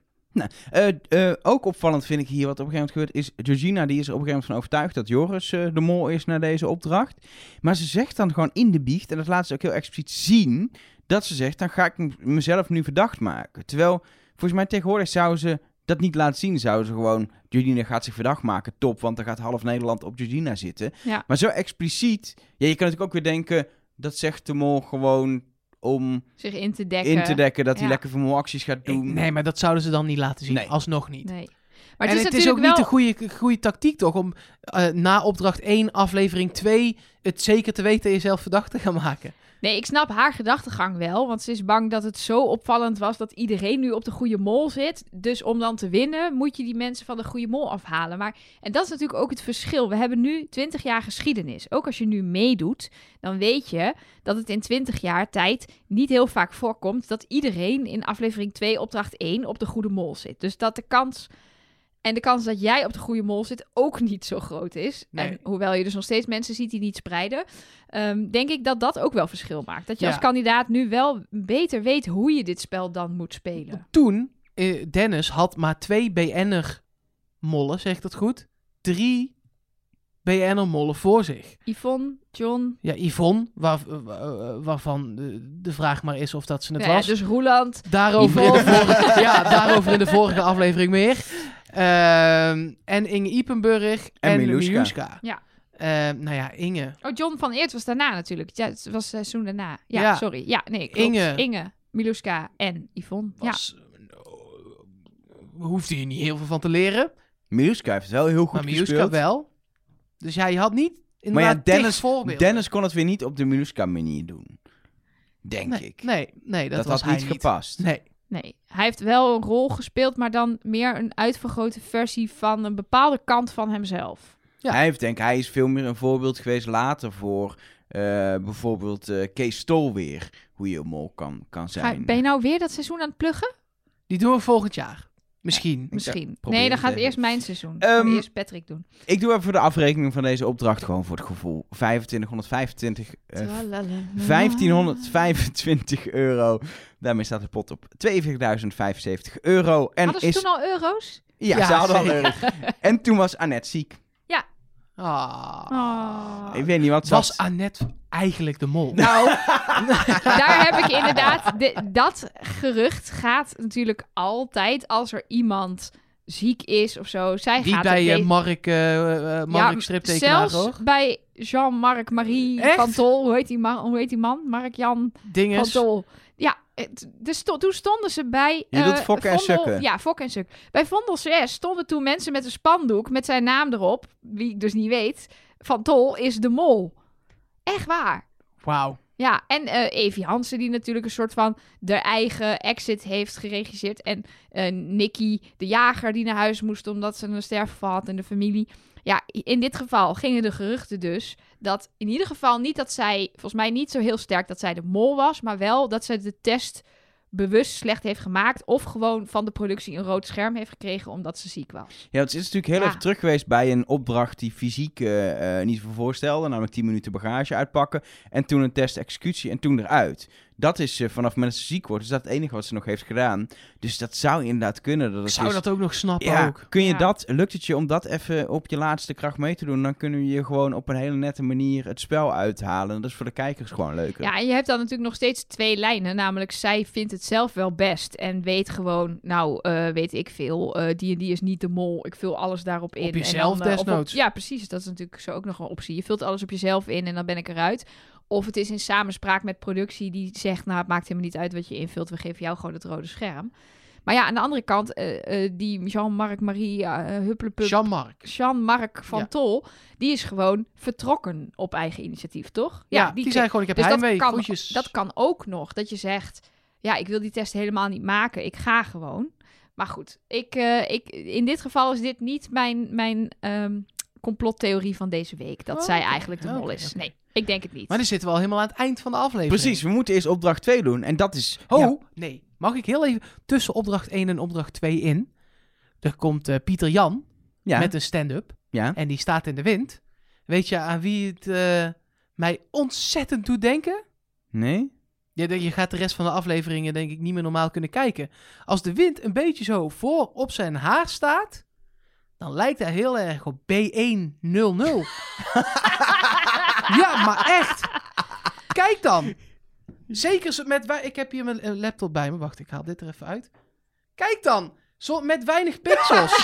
A: Eh, eh, ook opvallend vind ik hier wat op een gegeven moment gebeurt is... Georgina die is er op een gegeven moment van overtuigd dat Joris eh, de mol is na deze opdracht. Maar ze zegt dan gewoon in de biecht, en dat laat ze ook heel expliciet zien... dat ze zegt, dan ga ik m- mezelf nu verdacht maken. Terwijl, volgens mij tegenwoordig zou ze dat niet laten zien. Zou ze gewoon, Georgina gaat zich verdacht maken, top... want dan gaat half Nederland op Georgina zitten.
C: Ja.
A: Maar zo expliciet... Ja, je kan natuurlijk ook weer denken, dat zegt de mol gewoon om
C: Zich in te dekken.
A: in te dekken... dat hij
C: Ja.
A: lekker vermoordacties gaat
B: Ik-
A: doen.
B: nee, maar dat zouden ze dan niet laten zien.
A: Nee.
B: Alsnog niet.
C: Nee. Maar
B: en
C: het is,
B: het is ook
C: natuurlijk
B: niet
C: wel...
B: de goede, goede tactiek toch om eh, na opdracht 1, aflevering 2, het zeker te weten en jezelf verdacht te gaan maken.
C: Nee, ik snap haar gedachtegang wel. Want ze is bang dat het zo opvallend was dat iedereen nu op de goede mol zit. Dus om dan te winnen moet je die mensen van de goede mol afhalen. Maar, en dat is natuurlijk ook het verschil. We hebben nu 20 jaar geschiedenis. Ook als je nu meedoet, dan weet je dat het in 20 jaar tijd niet heel vaak voorkomt dat iedereen in aflevering 2, opdracht 1 op de goede mol zit. Dus dat de kans. En de kans dat jij op de goede mol zit ook niet zo groot is.
B: Nee.
C: En hoewel je dus nog steeds mensen ziet die niet spreiden, ehm, denk ik dat dat ook wel verschil maakt. Dat je
B: Ja.
C: als kandidaat nu wel beter weet hoe je dit spel dan moet spelen.
B: Toen, eh, Dennis had maar twee BN'er mollen, zeg ik dat goed? Drie BN'er mollen voor zich.
C: Yvonne, John.
B: Ja, Yvonne, waar, eh, waarvan de, de vraag maar is of dat ze het
C: Nou ja,
B: was.
C: dus Roeland.
B: Daarover in, de
C: Yvonne.
B: vorige, ja, daarover in de vorige aflevering meer. Ehm, en Inge Ipenburg en,
A: En
B: Miluska.
A: Miluska.
C: Ja.
B: Ehm, nou ja, Inge.
C: Oh, John van Eert was daarna natuurlijk. Ja, het was seizoen daarna. Ja,
B: Ja.
C: sorry. Ja, nee, klopt.
B: Inge.
C: Inge, Miluska en Yvonne. Ja.
B: Was, eh, hoefde je niet heel veel van te leren.
A: Miluska heeft wel heel goed
B: maar Miluska
A: gespeeld.
B: wel. Dus jij had niet
A: Maar ja,
B: inderdaad tig
A: Dennis,
B: voorbeelden.
A: Dennis kon het weer niet op de Miluska manier doen. Denk
B: nee,
A: ik.
B: Nee, nee, dat,
A: dat
B: was
A: had
B: hij
A: niet gepast.
B: Nee,
C: Nee, hij heeft wel een rol gespeeld, maar dan meer een uitvergrote versie van een bepaalde kant van hemzelf.
B: Ja.
A: Hij, heeft, denk, ik- hij is veel meer een voorbeeld geweest later voor eh, bijvoorbeeld eh, Kees Stol weer. Hoe je een mol kan, kan
C: Ga-
A: zijn.
C: ben je nou weer dat seizoen aan het pluggen?
B: die doen we volgend jaar. Misschien.
C: Misschien.
A: probeer
C: nee, dan
A: het
C: gaat
A: even.
C: eerst mijn seizoen.
A: Ehm,
C: Dan eerst Patrick doen.
A: Ik doe even voor de afrekening van deze opdracht gewoon voor het gevoel. 2525 eh, 1525 euro. Daarmee staat de pot op 42.075 euro. En
C: Hadden ze
A: is...
C: toen al euro's?
A: Ja,
B: Ja,
A: ze hadden al
B: zeker.
A: euro. En toen was Annette ziek.
B: Ah.
C: Oh.
A: Ik weet niet wat ze
B: Was
A: had.
B: Annette eigenlijk de mol?
C: Nou, daar heb ik inderdaad. de- dat gerucht gaat natuurlijk altijd als er iemand ziek is of zo. Zij
B: Die
C: gaat
B: bij
C: het
B: eh,
C: lezen.
B: Mark, eh eh, Mark
C: Ja,
B: striptekenaar,
C: Zelfs
B: hoor.
C: bij Jean-Marc Marie
B: Echt?
C: van Tol. Hoe heet die, man? hoe heet die man? Mark Jan van
B: Dinges.
C: Tol. Ja, het- dus to- toen stonden ze bij...
A: Je doet
C: eh,
A: fokken en
C: Vondel-
A: sukken.
C: Ja, fokken en suk. Bij Vondel 6 stonden toen mensen met een spandoek met zijn naam erop. Wie ik dus niet weet. Van Tol is de mol. Echt waar.
B: Wauw.
C: Ja, en eh Evie Hansen, die natuurlijk een soort van de eigen exit heeft geregisseerd. En eh Nicky, de jager, die naar huis moest omdat ze een sterfgeval had in de familie. Ja, in dit geval gingen de geruchten dus dat in ieder geval niet dat zij, volgens mij niet zo heel sterk dat zij de mol was, maar wel dat ze de test bewust slecht heeft gemaakt. Of gewoon van de productie een rood scherm heeft gekregen omdat ze ziek was.
A: Ja, want ze is natuurlijk heel
C: Ja.
A: erg terug geweest bij een opdracht die fysiek eh, eh, niet voor voorstelde. Namelijk 10 minuten bagage uitpakken. En toen een test executie en toen eruit. Dat is eh, vanaf het moment dat ze ziek wordt. Is dat het enige wat ze nog heeft gedaan. Dus dat zou inderdaad kunnen. Dat
B: Ik
A: het
B: zou
A: is-
B: dat ook nog snappen
A: ja,
B: ook.
A: kun je
C: Ja.
A: dat, lukt het je om dat even op je laatste kracht mee te doen? Dan kunnen we je gewoon op een hele nette manier het spel uithalen. Dat is voor de kijkers gewoon leuker.
C: Ja, en je hebt dan natuurlijk nog steeds twee lijnen. Namelijk, zij vindt het zelf wel best. En weet gewoon, nou, eh, weet ik veel. eh, die en die is niet de mol. Ik vul alles daarop in.
B: jezelf
C: en dan, eh, of op-
B: desnoods.
C: ja, precies. Dat is natuurlijk zo ook nog een optie. Je vult alles op jezelf in en dan ben ik eruit. Of het is in samenspraak met productie die zegt... nou, het maakt helemaal niet uit wat je invult. We geven jou gewoon het rode scherm. Maar ja, aan de andere kant, eh, eh, die Jean-Marc Marie eh Hupplepup...
B: Jean-Marc.
C: Jean-Marc van
B: Ja.
C: Tol, die is gewoon vertrokken op eigen initiatief, toch?
B: Ja, die, zei gewoon, ik heb
C: dus dat
B: heimwee.
C: kan-
B: Groetjes.
C: dat kan ook nog. Dat je zegt, ja, ik wil die test helemaal niet maken. Ik ga gewoon. Maar goed, ik, eh, ik, in dit geval is dit niet mijn, mijn ehm, complottheorie van deze week. Dat
B: Oh,
C: zij
B: oké.
C: eigenlijk de
B: Ja,
C: mol
B: oké,
C: is.
B: oké.
C: Nee, ik denk het niet.
B: Maar dus- dan zitten we al helemaal aan het eind van de aflevering.
A: Precies, we moeten eerst opdracht 2 doen. En dat is...
B: Ho,
A: ja,
B: Oh, nee. Mag ik heel even tussen opdracht 1 en opdracht 2 in? Er komt eh, Pieter Jan
A: ja,
B: met een stand-up
A: ja.
B: en die staat in de wind. Weet je aan wie het eh, mij ontzettend doet denken?
A: Nee?
B: Je, je gaat de rest van de afleveringen denk ik niet meer normaal kunnen kijken. Als de wind een beetje zo voor op zijn haar staat, dan lijkt hij heel erg op B100. Ja, maar echt. Kijk dan. Zeker zo- met... wei- Ik heb hier mijn eh, laptop bij me. Wacht, ik haal dit er even uit. Kijk dan. Zo met weinig pixels.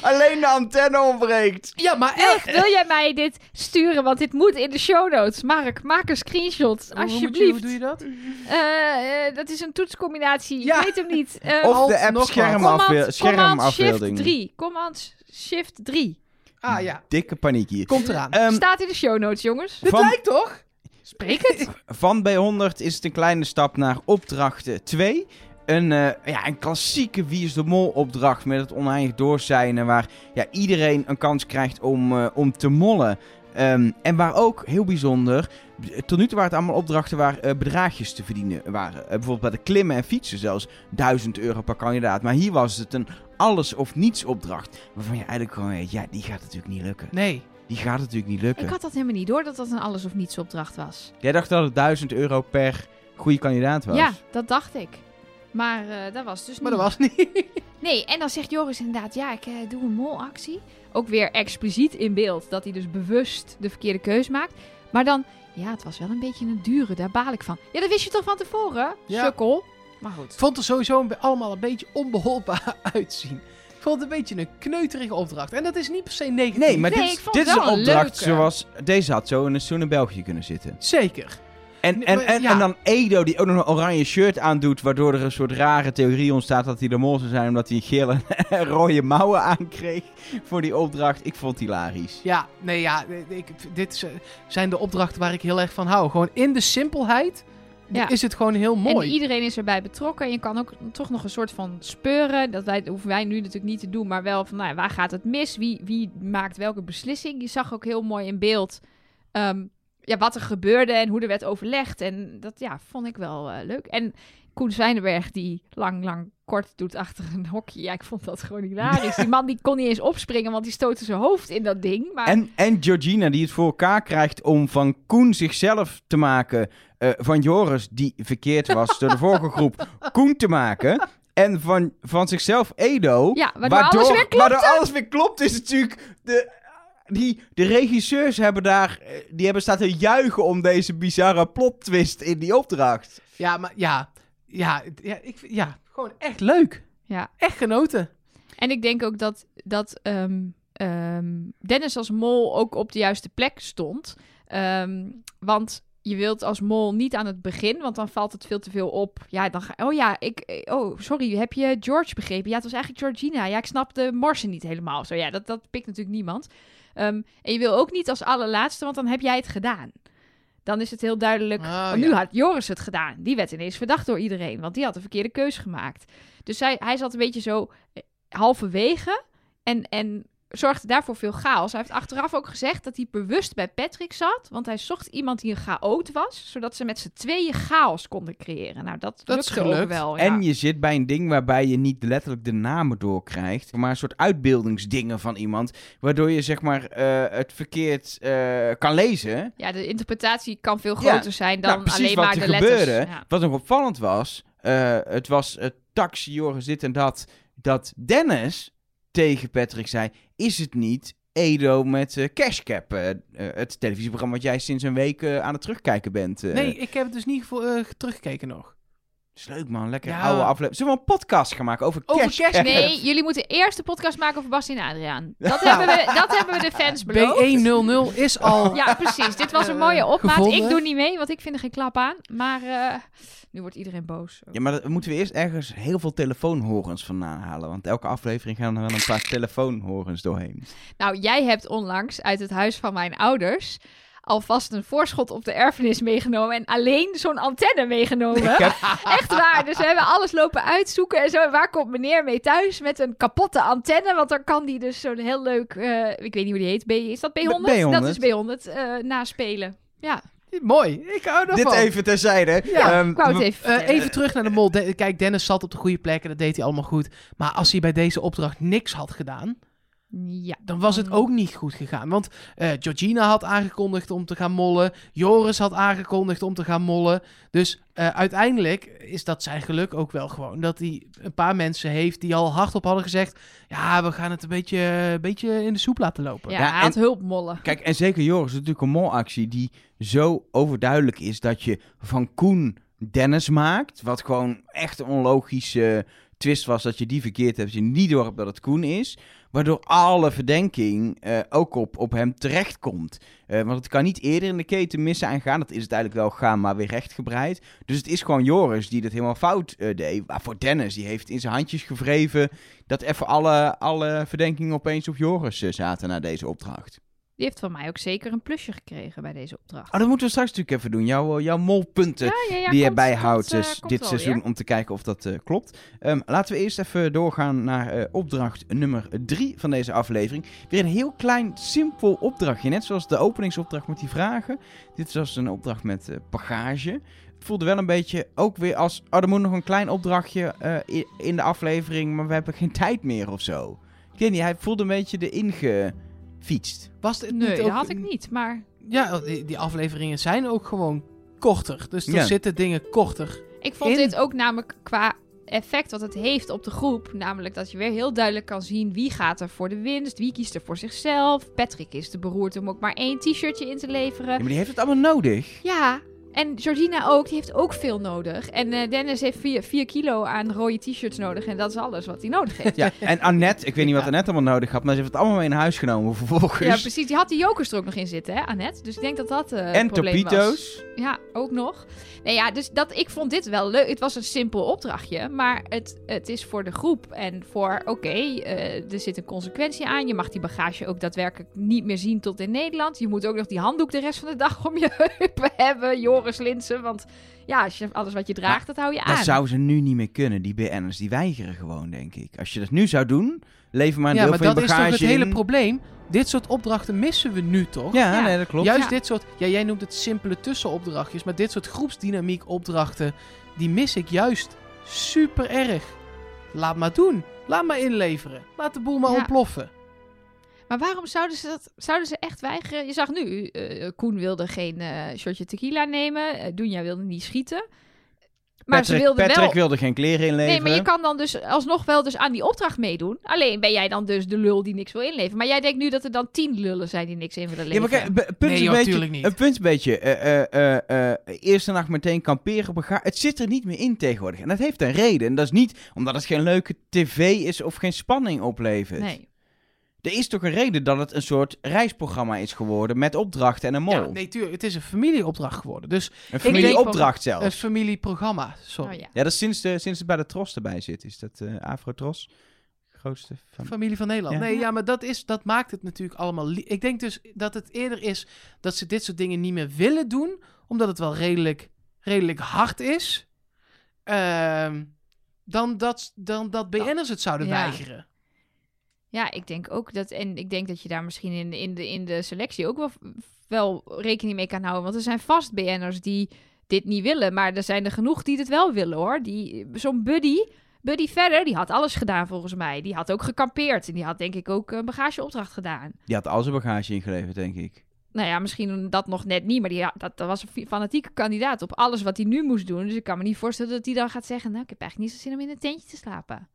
A: Alleen de antenne ontbreekt.
B: ja, maar
C: Echt,
B: echt.
C: wil jij mij dit sturen? Want dit moet in de show notes. Mark, maak een screenshot,
B: Hoe moet je-
C: alsjeblieft.
B: Hoe doe je dat?
C: Eh, eh, dat is een toetscombinatie.
B: Ja.
C: Ik weet hem niet. Eh,
A: Of
B: Alt
A: de app
B: nog
A: scherm
B: wat.
A: afbe-
C: Command, command shift
A: schermafbeelding.
C: 3. Command shift 3.
B: Ah ja,
A: Dikke paniek hier.
B: komt eraan.
A: Ehm,
C: Staat in de show notes, jongens.
B: Dit
A: van-
B: lijkt toch?
C: Spreek het.
A: van B100 is het een kleine stap naar opdracht 2. Een, eh, ja, een klassieke Wie is de Mol opdracht met het oneindig doorzijnen. Waar ja, iedereen een kans krijgt om, eh, om te mollen. Ehm, en waar ook, heel bijzonder, b- tot nu toe waren het allemaal opdrachten waar eh, bedraagjes te verdienen waren. Eh, bijvoorbeeld bij de klimmen en fietsen zelfs 1000 euro per kandidaat. Maar hier was het een alles of niets opdracht. Waarvan je eigenlijk gewoon weet, ja, die gaat natuurlijk niet lukken.
B: Nee.
A: Die gaat natuurlijk niet lukken.
C: Ik had dat helemaal niet door dat dat een alles of niets opdracht was.
A: Jij dacht dat het 1000 euro per goede kandidaat was.
C: Ja, dat dacht ik. Maar eh, dat was dus
B: Maar dat
C: niet.
B: was niet.
C: Nee, en dan zegt Joris inderdaad, ja, ik eh, doe een molactie. Ook weer expliciet in beeld dat hij dus bewust de verkeerde keus maakt. Maar dan, ja, het was wel een beetje een dure, daar baal ik van. Ja, dat wist je toch van tevoren,
B: Ja.
C: sukkel? Maar goed.
B: Ik vond het sowieso een be- allemaal een beetje onbeholpen uitzien. Ik vond het een beetje een kneuterige opdracht. En dat is niet per se negatief.
A: Nee, maar
C: Nee,
A: dit,
C: ik vond
A: dit
C: het
A: is een
C: wel een
A: opdracht
C: leuke.
A: zoals... Deze had zo in een zoen in België kunnen zitten.
B: Zeker.
A: En,
B: Nee,
A: en,
B: maar-
A: en,
B: ja.
A: en dan Edo, die ook nog een oranje shirt aandoet... waardoor er een soort rare theorie ontstaat dat hij de mol zou zijn... omdat hij gele en rode mouwen aankreeg voor die opdracht. Ik vond het hilarisch.
B: Ja, nee, ja. Ik, dit is, eh, zijn de opdrachten waar ik heel erg van hou. Gewoon in de simpelheid
C: Ja.
B: is het gewoon heel
C: En
B: mooi.
C: iedereen is erbij betrokken. En je kan ook toch nog een soort van speuren. Dat, wij, dat hoeven wij nu natuurlijk niet te doen. Maar wel van, nou ja, waar gaat het mis? Wie, wie maakt welke beslissing? Je zag ook heel mooi in beeld ehm, ja, wat er gebeurde en hoe er werd overlegd. En dat ja, vond ik wel eh, leuk. En Koen Zwijnenberg die lang, lang kort doet achter een hokje. Ja, ik vond dat gewoon hilarisch. Die man die kon niet eens opspringen, want die stootte zijn hoofd in dat ding. Maar
A: En, en Georgina die het voor elkaar krijgt om van Koen zichzelf te maken. eh, van Joris, die verkeerd was door de vorige groep, Koen te maken. En van, van zichzelf Edo.
C: ja, waardoor, alles weer klopte.
A: waardoor alles weer klopt is natuurlijk... De, die, de regisseurs hebben daar... eh, Die hebben staan te juichen om deze bizarre plot twist in die opdracht.
B: Ja, maar ja. Ja, het- ja, ik, vind- ja, gewoon echt leuk.
C: Ja.
B: Echt genoten.
C: En ik denk ook dat, dat ehm, ehm, Dennis als mol ook op de juiste plek stond. Ehm, want je wilt als mol niet aan het begin, want dan valt het veel te veel op. Ja, dan ga, oh ja, ik, eh, oh sorry, heb je George begrepen? Ja, het was eigenlijk Georgina. Ja, ik snap de morsen niet helemaal. Zo ja, dat, dat pikt natuurlijk niemand. Ehm, en je wil ook niet als allerlaatste, want dan heb jij het gedaan. Dan is het heel duidelijk.
B: Oh,
C: nu
B: ja.
C: had Joris het gedaan. Die werd ineens verdacht door iedereen, want die had de verkeerde keus gemaakt. Dus hij, hij zat een beetje zo eh, halverwege en, en zorgde daarvoor veel chaos. Hij heeft achteraf ook gezegd dat hij bewust bij Patrick zat, want hij zocht iemand die een chaot was, zodat ze met z'n tweeën chaos konden creëren. Nou, dat,
B: Dat is
C: lukte ook
B: gelukt.
C: wel. Oh, ja.
A: En je zit bij een ding waarbij je niet letterlijk de namen doorkrijgt... maar een soort uitbeeldingsdingen van iemand... waardoor je zeg maar eh, het verkeerd eh, kan lezen...
C: Ja, de interpretatie kan veel
A: Ja,
C: groter zijn dan
A: nou, precies
C: alleen
A: wat
C: maar
A: er
C: de
A: gebeurde.
C: letters. Ja.
A: Wat nog opvallend was, eh, het was eh, taxi, Joris, dit en dat. Dat Dennis tegen Patrick zei: Is het niet Edo met eh, Cashcap? eh, eh, het televisieprogramma wat jij sinds een week eh, aan het terugkijken bent. eh.
B: Nee, ik heb het dus niet gevo- eh, teruggekeken nog.
A: Is leuk man, lekker
B: Ja.
A: oude aflevering. Zullen we een podcast gaan maken over,
B: Over
A: Cashcap?
B: Cash-
C: Nee, jullie moeten eerst de podcast maken over Basti en Adriaan. Dat, hebben, we, dat hebben we de fans beloofd.
B: B100 is al...
C: Ja, precies. Dit was een
B: Eh,
C: mooie opmaat.
B: gevonden.
C: Ik doe niet mee, want ik vind er geen klap aan. Maar eh, nu wordt iedereen boos.
A: Ja, maar dat, moeten we eerst ergens heel veel telefoonhorens vandaan halen. Want elke aflevering gaan er wel een paar telefoonhorens doorheen.
C: Nou, jij hebt onlangs uit het huis van mijn ouders alvast een voorschot op de erfenis meegenomen en alleen zo'n antenne meegenomen.
A: Ik heb
C: Echt waar. Dus we hebben alles lopen uitzoeken en zo. En waar komt meneer mee thuis met een kapotte antenne? Want dan kan die dus zo'n heel leuk, eh, ik weet niet hoe die heet, B, is dat B100? Dat is B100, eh, naspelen. Ja,
B: Mooi. Ik hou daarvan.
A: dit even terzijde.
C: ja
A: Ehm,
C: ik wou het
A: we-
C: even
B: Eh,
C: vertellen.
B: even terug naar de mol. De- kijk, Dennis zat op de goede plek en dat deed hij allemaal goed. Maar als hij bij deze opdracht niks had gedaan,
C: Ja.
B: dan was
C: Mm.
B: het ook niet goed gegaan. Want eh, Georgina had aangekondigd om te gaan mollen. Joris had aangekondigd om te gaan mollen. Dus eh, uiteindelijk is dat zijn geluk ook wel gewoon. Dat hij een paar mensen heeft die al hardop hadden gezegd... Ja, we gaan het een beetje, een beetje in de soep laten lopen.
C: Ja,
A: Ja,
C: hij had hulp mollen.
A: Kijk, en zeker Joris, het is natuurlijk een molactie die zo overduidelijk is dat je van Koen Dennis maakt. Wat gewoon echt een onlogische twist was dat je die verkeerd hebt. Dat je niet door hebt dat het Koen is. Waardoor alle verdenking eh, ook op, op hem terechtkomt. Eh want het kan niet eerder in de keten missen en gaan. Dat is het eigenlijk wel gaan, maar weer rechtgebreid. Dus het is gewoon Joris die dat helemaal fout eh, deed. Maar voor Dennis, die heeft in zijn handjes gevreven dat even alle, alle verdenkingen opeens op Joris eh, zaten na deze opdracht.
C: Die heeft van mij ook zeker een plusje gekregen bij deze opdracht.
A: Oh, dat moeten we straks natuurlijk even doen. Jouw, eh, jouw molpunten
C: Ja, ja, ja,
A: die je
C: komt-
A: bijhoudt
C: komt, eh,
A: dus
C: komt
A: dit
C: wel
A: seizoen
C: weer.
A: om te kijken of dat eh, klopt. Ehm, laten we eerst even doorgaan naar eh, opdracht nummer 3 van deze aflevering. Weer een heel klein, simpel opdrachtje. Net zoals de openingsopdracht met die vragen. Dit was een opdracht met eh, bagage. Het voelde wel een beetje ook weer als... Oh, er moet nog een klein opdrachtje eh, i- in de aflevering, maar we hebben geen tijd meer of zo. Ik weet niet, hij voelde een beetje de ingefietst.
B: Was het
C: Nee,
B: niet
C: dat
B: ook-
C: had ik niet. Maar
B: Ja, die, die afleveringen zijn ook gewoon korter. Dus er
A: Ja.
B: zitten dingen korter.
C: ik vond
B: In.
C: dit ook namelijk qua effect wat het heeft op de groep. Namelijk dat je weer heel duidelijk kan zien wie gaat er voor de winst, wie kiest er voor zichzelf. Patrick is te beroerd om ook maar één t-shirtje in te leveren.
A: maar die heeft het allemaal nodig.
C: Ja, en Georgina ook, die heeft ook veel nodig. En eh, Dennis heeft 4 kilo aan rode t-shirts nodig en dat is alles wat hij nodig heeft.
A: Ja, en Annette, ik weet niet wat Annette allemaal nodig had, maar ze heeft het allemaal mee naar huis genomen vervolgens.
C: Ja, precies. Die had die jokers er ook nog in zitten, hè, Annette? Dus ik denk dat dat eh het
A: en
C: probleem was.
A: Topito's.
C: Ja, ook nog. Nee, ja, dus dat, ik vond dit wel leuk. Het was een simpel opdrachtje, maar het, het is voor de groep en voor, oké, eh, er zit een consequentie aan. Je mag die bagage ook daadwerkelijk niet meer zien tot in Nederland. Je moet ook nog die handdoek de rest van de dag om je heupen hebben, Joris Linsen. Want ja, als je, alles wat je draagt, dat hou je aan.
A: Dat zouden ze nu niet meer kunnen. Die BN'ers die weigeren gewoon, denk ik. Als je dat nu zou doen, lever maar een
B: Ja,
A: deel
B: maar
A: van je
B: dat is
A: bagage
B: toch het hele
A: in.
B: probleem? Dit soort opdrachten missen we nu toch?
A: Ja,
C: Ja.
A: nee, dat klopt.
B: Juist
C: Ja.
B: dit soort, ja, jij noemt het simpele tussenopdrachtjes, maar dit soort groepsdynamiek opdrachten, die mis ik juist super erg. Laat maar doen. Laat maar inleveren. Laat de boel maar
C: Ja.
B: ontploffen.
C: Maar waarom zouden ze dat zouden ze echt weigeren? Je zag nu, eh, Koen wilde geen eh, shotje tequila nemen. eh, Doenja wilde niet schieten. Maar
A: Patrick,
C: ze wilden
A: Patrick
C: wel...
A: wilde geen kleren inleveren.
C: Nee, maar je kan dan dus alsnog wel dus aan die opdracht meedoen. Alleen ben jij dan dus de lul die niks wil inleveren. Maar jij denkt nu dat er dan tien lullen zijn die niks in willen
A: Ja, maar
C: leveren.
A: kijk, b- punt
B: Nee,
A: is
B: joh,
A: een beetje,
B: tuurlijk niet.
A: een punt is een beetje, eh, eh, eh, eh, eerste nacht meteen kamperen, bega- het zit er niet meer in tegenwoordig. En dat heeft een reden. En dat is niet omdat het geen leuke tv is of geen spanning oplevert.
C: nee.
A: Er is toch een reden dat het een soort reisprogramma is geworden met opdrachten en een mol.
B: Ja, nee, tuurlijk. Het is een familieopdracht geworden. Dus
A: Een
B: denk-
A: familieopdracht zelfs.
B: een familieprogramma. Sorry.
C: Oh, ja.
A: Ja, dat is sinds, de, sinds het bij de Tros erbij zit. Is dat eh Afro Tros? Grootste van...
B: Familie van Nederland.
A: Ja.
B: Nee, ja, maar dat, is, dat maakt het natuurlijk allemaal. li- Ik denk dus dat het eerder is dat ze dit soort dingen niet meer willen doen, omdat het wel redelijk, redelijk hard is. Ehm, dan, dat, dan dat BN'ers het zouden
C: Ja.
B: weigeren.
C: ja, ik denk ook dat. En ik denk dat je daar misschien in, in, de, in de selectie ook wel, wel rekening mee kan houden. Want er zijn vast BN'ers die dit niet willen. Maar er zijn er genoeg die dit wel willen hoor. Die- Zo'n buddy. Buddy verder, die had alles gedaan volgens mij. Die had ook gekampeerd. En die had denk ik ook een bagageopdracht gedaan.
A: Die had al zijn bagage ingeleverd, denk ik.
C: Nou ja, misschien dat nog net niet. Maar die, ja, dat, dat was een fi- fanatieke kandidaat op alles wat hij nu moest doen. Dus ik kan me niet voorstellen dat hij dan gaat zeggen... nou, ik heb eigenlijk niet zo zin om in een tentje te slapen.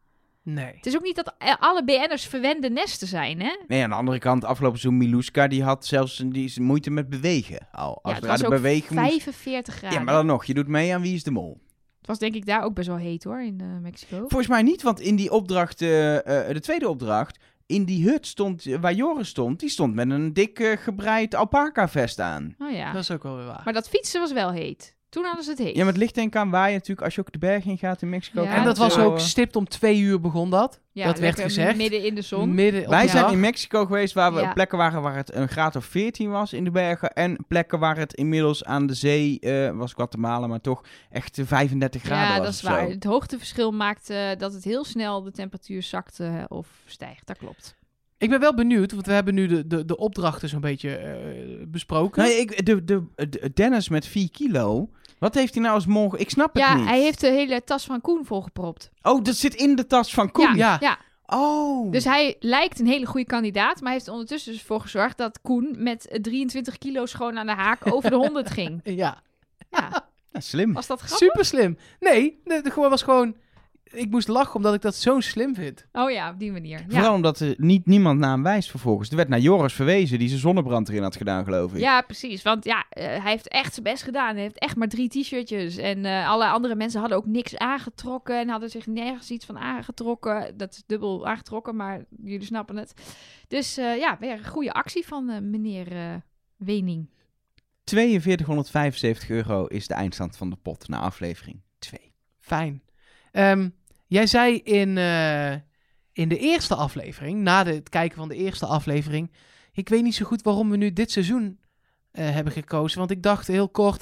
B: Nee.
C: Het is ook niet dat eh, alle BN'ers verwende nesten zijn, hè?
A: Nee, aan de andere kant, afgelopen seizoen Miluska, die had zelfs een- die is moeite met bewegen. Al, als
C: ja, het
A: er aan
C: was
A: de
C: ook
A: bewegen moest-
C: 45 graden.
A: Ja, maar dan nog, je doet mee aan Wie is de Mol.
C: Het was denk ik daar ook best wel heet, hoor, in eh, Mexico.
A: Volgens mij niet, want in die opdracht, eh, eh, de tweede opdracht, in die hut stond, eh, waar Joris stond, die stond met een dik eh, gebreid alpaca-vest aan.
C: Oh ja.
B: Dat is ook wel weer waar.
C: Maar dat fietsen was wel heet. Toen hadden ze het heet.
A: Ja, maar het ligt denk ik aan waar je natuurlijk, als je ook de berg in gaat in Mexico.
C: Ja,
A: kan
B: en dat
A: het
B: was
A: zo,
B: ook
A: eh,
B: stipt om twee uur begon dat.
C: Ja,
B: dat werd
C: lekker
B: gezegd.
C: Midden in de zon.
B: Midden op
A: Wij
B: de
A: zijn
B: dag.
A: in Mexico geweest waar we
C: Ja.
A: plekken waren waar het een graad of 14 was in de bergen. En plekken waar het inmiddels aan de zee, eh, was Guatemala, maar toch echt eh, 35 graden
C: ja,
A: was.
C: dat is
A: of zo.
C: waar. Het hoogteverschil maakt eh, dat het heel snel de temperatuur zakt eh, of stijgt. Dat klopt.
B: Ik ben wel benieuwd, want we hebben nu de, de, de opdrachten zo'n beetje eh, besproken.
A: Nee, Nou ik, de, de, de- Dennis met 4 kilo. Wat heeft hij nou als mol? Ik snap het
C: Ja,
A: niet.
C: hij heeft de hele tas van Koen volgepropt.
A: Oh, dat zit in de tas van Koen.
B: Ja.
C: ja,
A: Oh.
C: Dus hij lijkt een hele goede kandidaat, maar hij heeft er ondertussen dus voor gezorgd dat Koen met eh, 23 kilo schoon aan de haak over de 100 ging.
B: Ja.
C: Ja,
A: Ja, slim.
C: was dat grappig?
B: Super slim. Nee, het gewoon was gewoon. Ik moest lachen omdat ik dat zo slim vind.
C: Oh ja, op die manier. Ja,
A: Vooral omdat er niet, niemand naar hem wijst vervolgens. Er werd naar Joris verwezen die zijn zonnebrand erin had gedaan, geloof ik.
C: ja precies. Want ja, eh, hij heeft echt zijn best gedaan. Hij heeft echt maar drie t-shirtjes. En eh, alle andere mensen hadden ook niks aangetrokken en hadden zich nergens iets van aangetrokken. Dat is dubbel aangetrokken, maar jullie snappen het. Dus eh, ja, weer een goede actie van eh, meneer eh, Wening.
A: 4275 euro is de eindstand van de pot na aflevering 2.
B: Fijn. Ehm, jij zei in, eh, in de eerste aflevering, na de- het kijken van de eerste aflevering. Ik weet niet zo goed waarom we nu dit seizoen eh, hebben gekozen. Want ik dacht heel kort: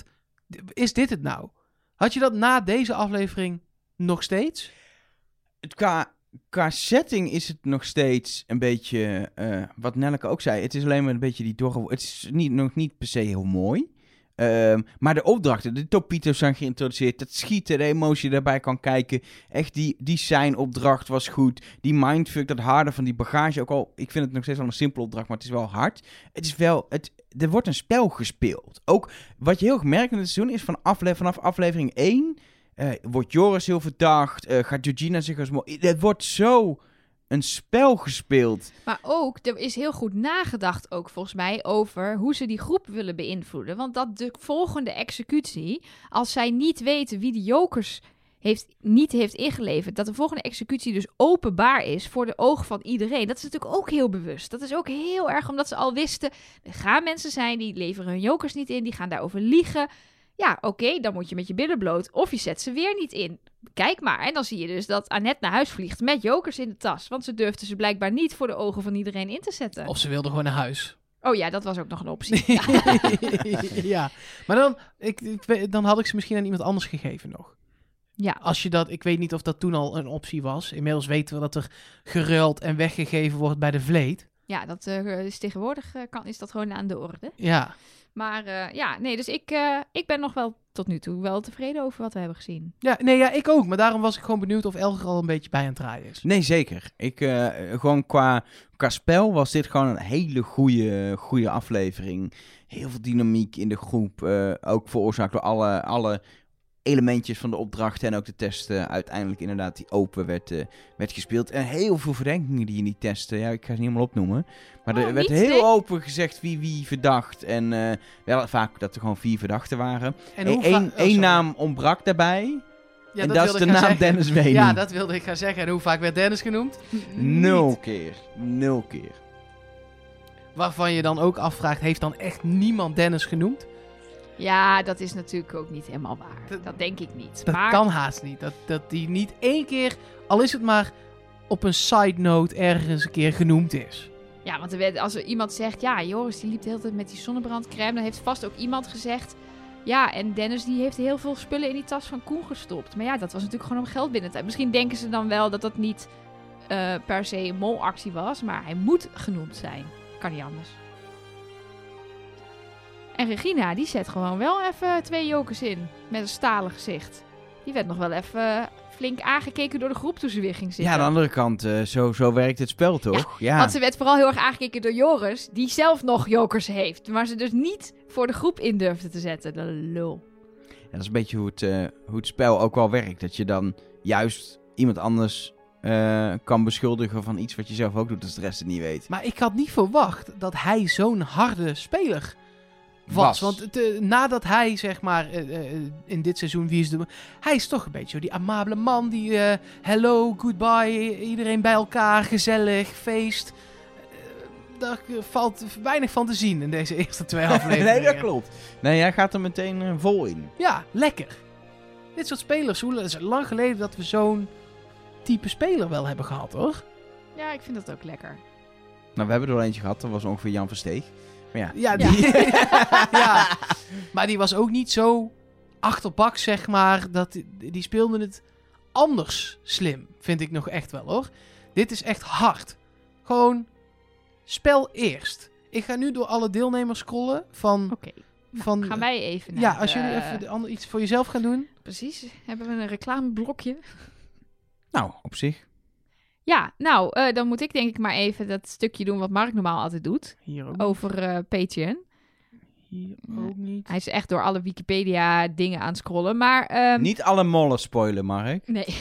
B: d- is dit het nou? Had je dat na deze aflevering nog steeds?
A: Het- qua, qua setting is het nog steeds een beetje, eh, wat Nelleke ook zei, het is alleen maar een beetje die dorre... Het is niet, nog niet per se heel mooi. Ehm, maar de opdrachten, de topito's zijn geïntroduceerd, dat schieten, de emotie daarbij kan kijken. Echt, die, die zijn opdracht was goed. Die mindfuck, dat harde van die bagage, ook al, ik vind het nog steeds wel een simpele opdracht, maar het is wel hard. Het is wel, het, er wordt een spel gespeeld. Ook wat je heel erg merkt in het seizoen is van afle vanaf aflevering 1 eh, wordt Joris heel verdacht? Eh, gaat Georgina zich als mooi... Het wordt zo een spel gespeeld.
C: Maar ook, er is heel goed nagedacht ook volgens mij over hoe ze die groep willen beïnvloeden. Want dat de volgende executie, als zij niet weten wie de jokers heeft, niet heeft ingeleverd, dat de volgende executie dus openbaar is voor de ogen van iedereen. Dat is natuurlijk ook heel bewust. Dat is ook heel erg omdat ze al wisten, er gaan mensen zijn die leveren hun jokers niet in, die gaan daarover liegen. Ja, oké, dan moet je met je billen bloot of je zet ze weer niet in kijk maar. En dan zie je dus dat Annette naar huis vliegt met jokers in de tas. Want ze durfde ze blijkbaar niet voor de ogen van iedereen in te zetten.
B: Of ze wilde gewoon naar huis.
C: Oh ja, dat was ook nog een optie.
B: ja. Maar dan, ik, ik weet- dan had ik ze misschien aan iemand anders gegeven nog.
C: Ja.
B: Als je dat, ik weet niet of dat toen al een optie was. Inmiddels weten we dat er geruild en weggegeven wordt bij de vleet.
C: Ja, dat eh, is tegenwoordig eh, kan, is dat gewoon aan de orde.
B: Ja.
C: Maar eh, ja, nee, dus ik, eh, ik ben nog wel tot nu toe wel tevreden over wat we hebben gezien.
B: Ja, nee, ja, ik ook. Maar daarom was ik gewoon benieuwd of Elger al een beetje bij aan het draaien is.
A: Nee, zeker. Ik, eh, gewoon qua, qua spel was dit gewoon een hele goede, goede aflevering. Heel veel dynamiek in de groep. eh, ook veroorzaakt door alle, alle elementjes van de opdrachten en ook de testen. Uiteindelijk inderdaad die open werd, eh, werd gespeeld. En heel veel verdenkingen die in die testen. Ja, ik ga ze niet helemaal opnoemen. Maar
C: Oh,
B: Nou,
A: er werd
C: niets,
A: heel
C: nee.
A: open gezegd wie wie verdacht. En eh, wel vaak dat er gewoon vier verdachten waren.
B: En
A: Eén
B: hoe va-
A: één-
B: oh,
A: één
B: sorry.
A: naam ontbrak daarbij.
B: Ja,
A: en dat is
B: wilde
A: de
B: ik
A: naam
B: gaan zeggen.
A: Dennis Wening.
B: Ja, dat wilde ik gaan zeggen. En hoe vaak werd Dennis genoemd?
A: Nul keer. Nul keer.
B: Waarvan je dan ook afvraagt, heeft dan echt niemand Dennis genoemd?
C: Ja, dat is natuurlijk ook niet helemaal waar.
B: Dat-
C: Dat, denk ik niet.
B: Dat
C: maar
B: kan haast niet. Dat, dat die niet één keer, al is het maar op een side note, ergens een keer genoemd is.
C: ja, want er werd- als er iemand zegt, ja, Joris die liep de hele tijd met die zonnebrandcrème, dan heeft vast ook iemand gezegd, ja, en Dennis die heeft heel veel spullen in die tas van Koen gestopt. Maar ja, dat was natuurlijk gewoon om geld binnen te hebben. Misschien denken ze dan wel dat dat niet eh, per se een molactie was, maar hij moet genoemd zijn. Kan niet anders. En Regina, die zet gewoon wel even twee jokers in, met een stalen gezicht. Die werd nog wel even eh, flink aangekeken door de groep toen ze weer ging zitten.
A: Ja, aan de andere kant, eh, zo, zo werkt het spel toch? Ja.
C: Want ze werd vooral heel erg aangekeken door Joris, die zelf nog jokers heeft. Maar ze dus niet voor de groep in durfde te zetten. De lul.
A: Ja, dat is een beetje hoe het, eh, hoe het spel ook wel werkt. Dat je dan juist iemand anders eh, kan beschuldigen van iets wat je zelf ook doet als de rest het niet weet.
B: Maar ik had niet verwacht dat hij zo'n harde speler was.
A: Was.
B: Want het, eh, nadat hij, zeg maar, eh, eh, in dit seizoen, wie is de... Hij is toch een beetje zo die amabele man, die eh, hello, goodbye, iedereen bij elkaar, gezellig, feest. Eh, daar eh, valt weinig van te zien in deze eerste twee afleveringen.
A: nee, dat klopt. Nee, jij gaat er meteen eh, vol in.
B: Ja, lekker. Dit soort spelers, hoe het is lang geleden dat we zo'n type speler wel hebben gehad, hoor.
C: Ja, ik vind dat ook lekker.
A: Nou, we hebben er al eentje gehad, dat was ongeveer Jan Versteeg. Maar ja,
B: Ja, die... ja. maar die was ook niet zo achterbak, zeg maar. Dat, die speelde het anders slim, vind ik nog echt wel hoor. Dit is echt hard. Gewoon spel eerst. Ik ga nu door alle deelnemers scrollen van...
C: Oké.
B: van
C: Oh, Gaan wij even naar
B: Mm. ja, als
C: de-
B: jullie even de ander- iets voor jezelf gaan doen.
C: Precies. Hebben we een reclameblokje?
A: nou, op zich.
C: Ja, nou, eh, dan moet ik denk ik maar even dat stukje doen wat Mark normaal altijd doet.
B: Hier ook,
C: Over eh, Patreon.
B: hier
C: Nee.
B: ook niet.
C: Hij is echt door alle Wikipedia dingen aan het scrollen. Maar, ehm,
A: Niet alle mollen spoilen, Mark.
C: Nee.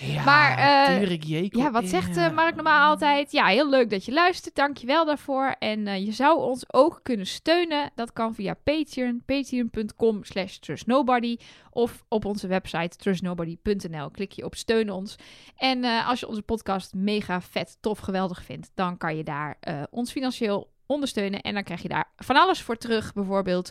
B: Ja,
C: Maar, eh,
B: Turek Jekel.
C: Ja, wat zegt eh,
B: ja.
C: Mark normaal altijd? Ja, heel leuk dat je luistert. Dankjewel daarvoor. En eh, je zou ons ook kunnen steunen. Dat kan via Patreon. Patreon.com slash trustnobody. Of op onze website trustnobody.nl. Klik je op steun ons. En eh, als je onze podcast mega vet, tof, geweldig vindt... dan kan je daar eh, ons financieel ondersteunen. En dan krijg je daar van alles voor terug. Bijvoorbeeld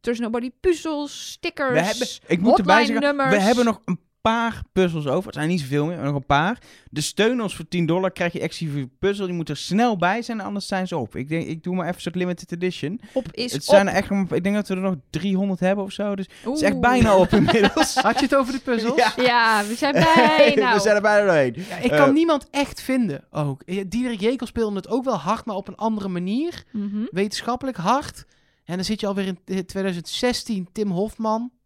C: Trust Nobody puzzels, stickers...
A: We hebben, ik moet erbij zeggen,
C: hotline-nummers.
A: we hebben nog een paar puzzels over. Het zijn niet zoveel meer, maar nog een paar. De steun ons voor 10 dollar krijg je exclusieve puzzel. Die moet er snel bij zijn, anders zijn ze op. Ik, denk, ik doe maar even een soort limited edition.
C: Op is
A: het zijn er echt, nog- ik denk dat we er nog 300 hebben of zo. Dus het is echt bijna op inmiddels.
B: Had je het over de puzzels?
A: Ja.
C: Ja, we zijn bijna
A: we zijn er bijna doorheen.
B: Ja, ik
A: Eh,
B: kan niemand echt vinden ook. Eh, Diederik Jekel speelde het ook wel hard, maar op een andere manier.
C: Mhm.
B: Wetenschappelijk hard. En dan zit je alweer in eh, 2016. Tim Hofman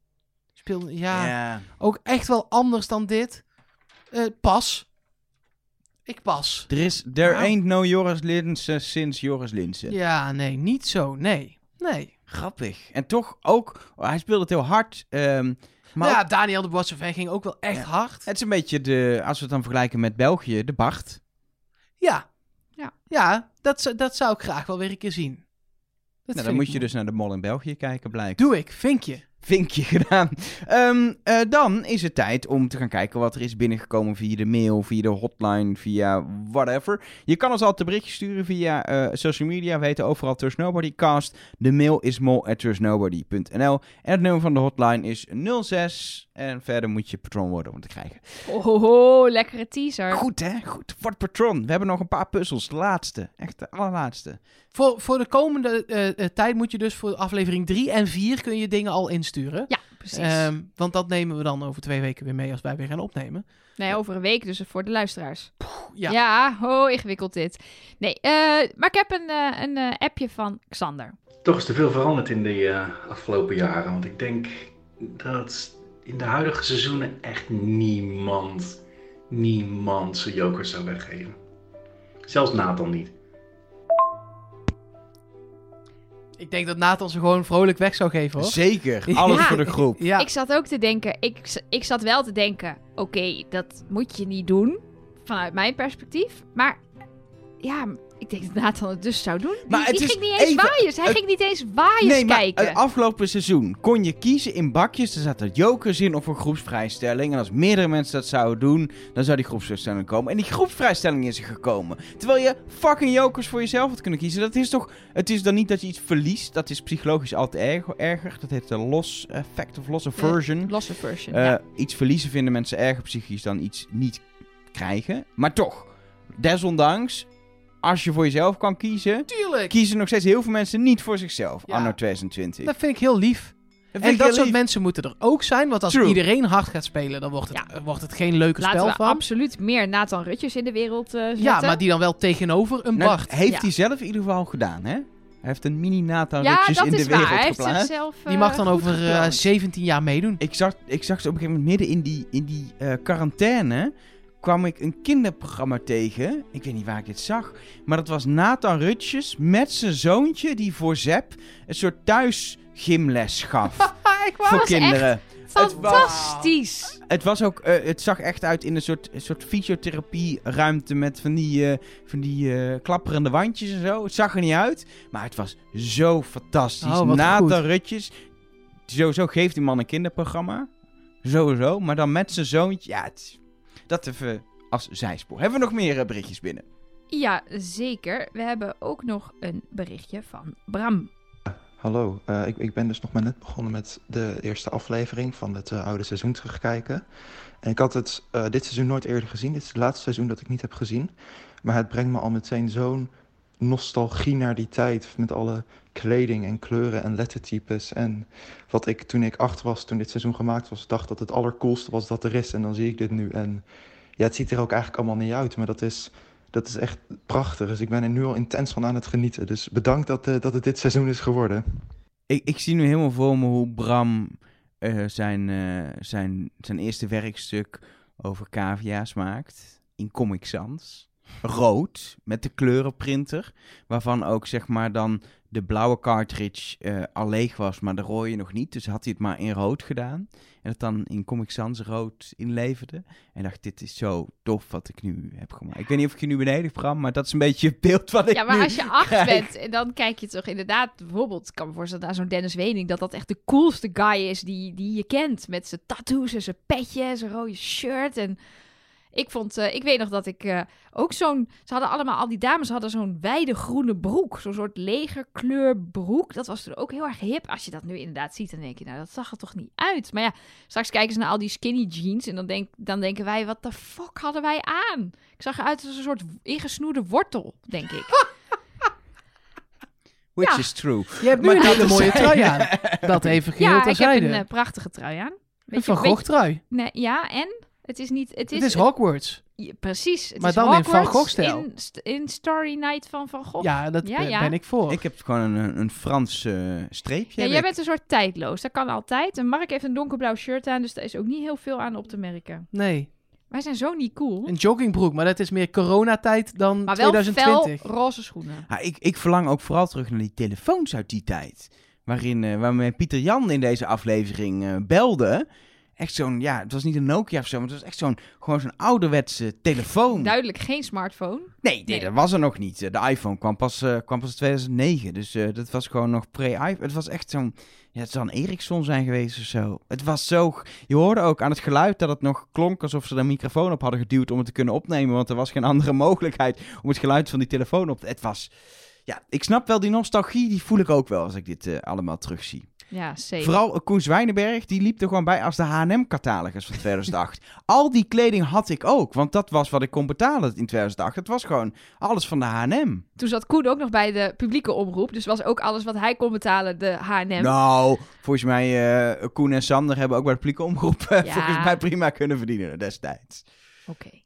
B: speelde, ja,
A: Ja.
B: ook echt wel anders dan dit. Eh, pas. Ik pas.
A: Er is, there
B: Nou.
A: ain't no Joris Linsen sinds Joris Linsen.
B: Ja, nee, niet zo. Nee. Nee.
A: Grappig. En toch ook, hij speelde het heel hard. ehm, Maar
B: nou
A: ook-
B: ja, Daniel de Boissevain ging ook wel echt
A: Ja.
B: hard.
A: het is een beetje de, als we het dan vergelijken met België, de Bart.
B: Ja.
C: Ja.
B: Ja, dat, zou- dat zou ik graag wel weer een keer zien. Dat
A: Nou,
B: vind
A: dan
B: ik
A: moet je
B: mooi.
A: dus naar de mol in België kijken, blijkt.
B: Doe ik, vinkje.
A: vinkje gedaan. Ehm, eh, dan is het tijd om te gaan kijken wat er is binnengekomen via de mail, via de hotline, via whatever. Je kan ons altijd een berichtje sturen via eh, social media. We heten overal Trust Nobody Cast. De mail is mol at trustnobody.nl. En het nummer van de hotline is 06. En verder moet je patron worden om te krijgen.
C: Oh, ho, ho, lekkere teaser.
A: Goed hè? Goed. Word patron. We hebben nog een paar puzzels. De laatste. Echt de allerlaatste.
B: Voor, voor de komende eh, eh, tijd moet je dus voor aflevering 3 en 4 kun je dingen al insturen.
C: Ja, precies.
B: Ehm, want dat nemen we dan over twee weken weer mee als wij weer gaan opnemen.
C: nee, over een week dus voor de luisteraars. Ja,
B: Ja,
C: ho, ingewikkeld dit. Nee, eh, maar ik heb een, eh, een eh, appje van Xander.
D: Toch is er veel veranderd in de eh, afgelopen jaren. Want ik denk dat in de huidige seizoenen echt niemand, niemand zijn jokers zou weggeven. Zelfs Nathan niet.
B: ik denk dat Nathan ze gewoon vrolijk weg zou geven hoor.
A: Zeker. Alles
C: Ja.
A: voor de groep.
B: Ja,
C: Ik zat ook te denken, ik, z- ik zat wel te denken, oké, dat moet je niet doen. Vanuit mijn perspectief. Maar ja, ik denk dat Nathan het dus zou doen.
A: Maar
C: die
A: het
C: die
A: is
C: ging niet eens
A: even-
C: waaiers. Hij
A: het-
C: ging niet eens waaiers
A: maar
C: kijken.
A: het afgelopen seizoen kon je kiezen in bakjes. Er zaten jokers in of een groepsvrijstelling. En als meerdere mensen dat zouden doen, dan zou die groepsvrijstelling komen. En die groepsvrijstelling is er gekomen. Terwijl je fucking jokers voor jezelf had kunnen kiezen. Dat is toch... Het is dan niet dat je iets verliest. Dat is psychologisch altijd erger. erger. Dat heeft een los effect of losse version.
C: Losse version,
A: Eh,
C: ja.
A: Iets verliezen vinden mensen erger psychisch dan iets niet krijgen. Maar toch, desondanks... Als je voor jezelf kan kiezen,
B: tuurlijk.
A: kiezen nog steeds heel veel mensen niet voor zichzelf.
B: Ja.
A: Anno 2020.
B: Dat vind ik heel lief. en dat soort mensen moeten er ook zijn. Want als
A: True.
B: iedereen hard gaat spelen, dan wordt het,
C: Ja.
B: eh, wordt het geen leuke
C: Laten
B: spel
C: we
B: van.
C: absoluut meer Nathan Rutjes in de wereld eh, zetten.
B: Ja, maar die dan wel tegenover een
A: Nou,
B: Bart.
A: heeft
C: Ja.
A: hij zelf in ieder geval gedaan, hè? Hij heeft een mini Nathan
C: Ja,
A: Rutjes
C: dat
A: in de
C: is
A: wereld
C: waar. Hij heeft
A: geplaatst.
C: zichzelf
B: Die mag dan
C: eh,
B: over eh,
C: gepland.
B: 17 jaar meedoen.
A: Ik zag, ik zag ze op een gegeven moment midden in die, in die eh, quarantaine... kwam ik een kinderprogramma tegen. Ik weet niet waar ik dit zag. Maar dat was Nathan Rutjes met zijn zoontje... die voor Zep een soort thuisgymles gaf.
C: ik
A: voor
C: wou- was echt
A: kinderen. Het was-
C: Fantastisch.
A: Het was ook, eh, het zag echt uit in een soort, een soort fysiotherapie-ruimte met van die, eh, van die eh, klapperende wandjes en zo. Het zag er niet uit, maar het was zo fantastisch.
B: Oh, wat
A: Nathan
B: goed.
A: Rutjes, sowieso geeft die man een kinderprogramma. Sowieso, maar dan met zijn zoontje. Ja, het- dat even als zijspoor. Hebben we nog meer eh, berichtjes binnen?
C: Ja, zeker. We hebben ook nog een berichtje van Bram.
E: Hallo, eh, ik, ik ben dus nog maar net begonnen met de eerste aflevering van het eh, oude seizoen terugkijken. En ik had het eh, dit seizoen nooit eerder gezien. Dit is het laatste seizoen dat ik niet heb gezien. Maar het brengt me al meteen zo'n nostalgie naar die tijd. Met alle kleding en kleuren en lettertypes. En wat ik toen ik acht was, toen dit seizoen gemaakt was, dacht dat het allercoolste was dat er is. En dan zie ik dit nu. En ja, het ziet er ook eigenlijk allemaal niet uit. Maar dat is, dat is echt prachtig. Dus ik ben er nu al intens van aan het genieten. Dus bedankt dat, eh, dat het dit seizoen is geworden.
A: Ik, ik zie nu helemaal voor me hoe Bram eh, zijn, eh, zijn, zijn eerste werkstuk over cavia's maakt. In Comic Sans. Rood, met de kleurenprinter. Waarvan ook zeg maar dan de blauwe cartridge eh, al leeg was, maar de rode nog niet. Dus had hij het maar in rood gedaan. En het dan in Comic Sans rood inleverde. En dacht, dit is zo tof wat ik nu heb gemaakt. Ik weet niet of ik je nu beneden, Bram, maar dat is een beetje het beeld wat ik
C: Ja, maar
A: nu
C: als je acht
A: krijg.
C: bent, en dan kijk je toch inderdaad bijvoorbeeld... Ik kan me voorstellen aan zo'n Dennis Wening... dat dat echt de coolste guy is die, die je kent. Met zijn tattoos en zijn petje en zijn rode shirt. En ik vond... eh, ik weet nog dat ik eh, ook zo'n... Ze hadden allemaal... Al die dames hadden zo'n wijde groene broek. Zo'n soort legerkleur broek. Dat was toen ook heel erg hip. Als je dat nu inderdaad ziet, dan denk je... Nou, dat zag er toch niet uit. Maar ja, straks kijken ze naar al die skinny jeans... en dan, denk, dan denken wij... Wat de fuck hadden wij aan? Ik zag eruit als een soort ingesnoerde wortel, denk ik.
A: Which
C: Ja.
A: is true.
B: Je hebt nu
A: Maar
B: een
A: dat
B: hele
A: is-
B: mooie trui aan. Dat even geheel
C: Ja, ik heb
B: terzijde.
C: een eh, prachtige trui aan. Weet
B: een Van
C: je- weet
B: Gogh trui.
C: je- nee, ja, en? Het is niet... Het is,
B: Het is Hogwarts.
C: je- Precies. Het
B: Maar
C: is
B: dan in Van
C: Hogwarts
B: Gogh-stijl.
C: In, st- in Starry Night van Van Gogh.
B: Ja, dat
C: Ja,
B: ben,
C: ja.
B: ben ik voor.
A: Ik heb gewoon een, een Frans eh, streepje.
C: Ja,
A: heb
C: jij
A: ik.
C: bent een soort tijdloos. Dat kan altijd. En Mark heeft een donkerblauw shirt aan, dus daar is ook niet heel veel aan op te merken.
B: Nee,
C: Wij zijn zo niet cool.
B: een joggingbroek. Maar dat is meer coronatijd dan
C: Maar wel
B: 2020.
C: fel roze schoenen.
A: Ja, Ah, ik, ik verlang ook vooral terug naar die telefoons uit die tijd. Waarin, eh, waarmee Pieter Jan in deze aflevering eh, belde. echt zo'n, ja, het was niet een Nokia of zo, maar het was echt zo'n, gewoon zo'n ouderwetse
B: Hm.
A: telefoon.
C: Duidelijk geen smartphone.
A: nee, nee,
C: Nee.
A: dat was er nog niet. Eh, De iPhone kwam pas, eh, kwam pas in 2009, dus eh, dat was gewoon nog pre-iPhone. Het was echt zo'n, ja, het zou een Ericsson zijn geweest of zo. Het was zo, je hoorde ook aan het geluid dat het nog klonk alsof ze er een microfoon op hadden geduwd om het te kunnen opnemen, want er was geen andere mogelijkheid om het geluid van die telefoon op te... Het was, ja, ik snap wel die nostalgie, die voel ik ook wel als ik dit eh, allemaal terugzie.
C: Ja, zeker.
A: Vooral eh, Koen Zwijnenberg, die liep er gewoon bij als de H&M-catalogus van 2008. Al die kleding had ik ook, want dat was wat ik kon betalen in 2008. Het was gewoon alles van de H&M.
C: Toen zat Koen ook nog bij de publieke omroep. Dus was ook alles wat hij kon betalen de H&M.
A: Nou, volgens mij, eh, Koen en Sander hebben ook bij de publieke omroep eh,
C: Ja.
A: volgens mij prima kunnen verdienen destijds.
C: Oké.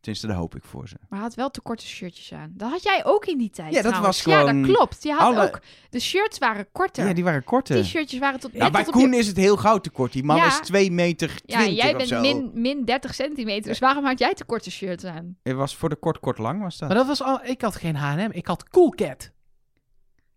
A: Tenminste, daar hoop ik voor ze.
C: Maar hij had wel te korte shirtjes aan. Dat had jij ook in die tijd
A: Ja, dat
C: trouwens.
A: was gewoon
C: Ja, dat klopt. Je had
A: alle-
C: ook... De shirts waren korter.
A: Ja, die waren korter.
C: T-shirtjes waren tot...
A: Nou,
C: net
A: bij
C: tot op je-
A: Koen is het heel gauw tekort. Die man
C: Ja.
A: is 2 meter 20
C: Ja, en jij
A: of
C: bent
A: zo.
C: min, min 30 centimeter. Dus waarom had jij te korte shirts aan?
A: Het was voor de kort, kort lang was dat.
B: Maar dat was al... Ik had geen H&M, ik had Cool Cat.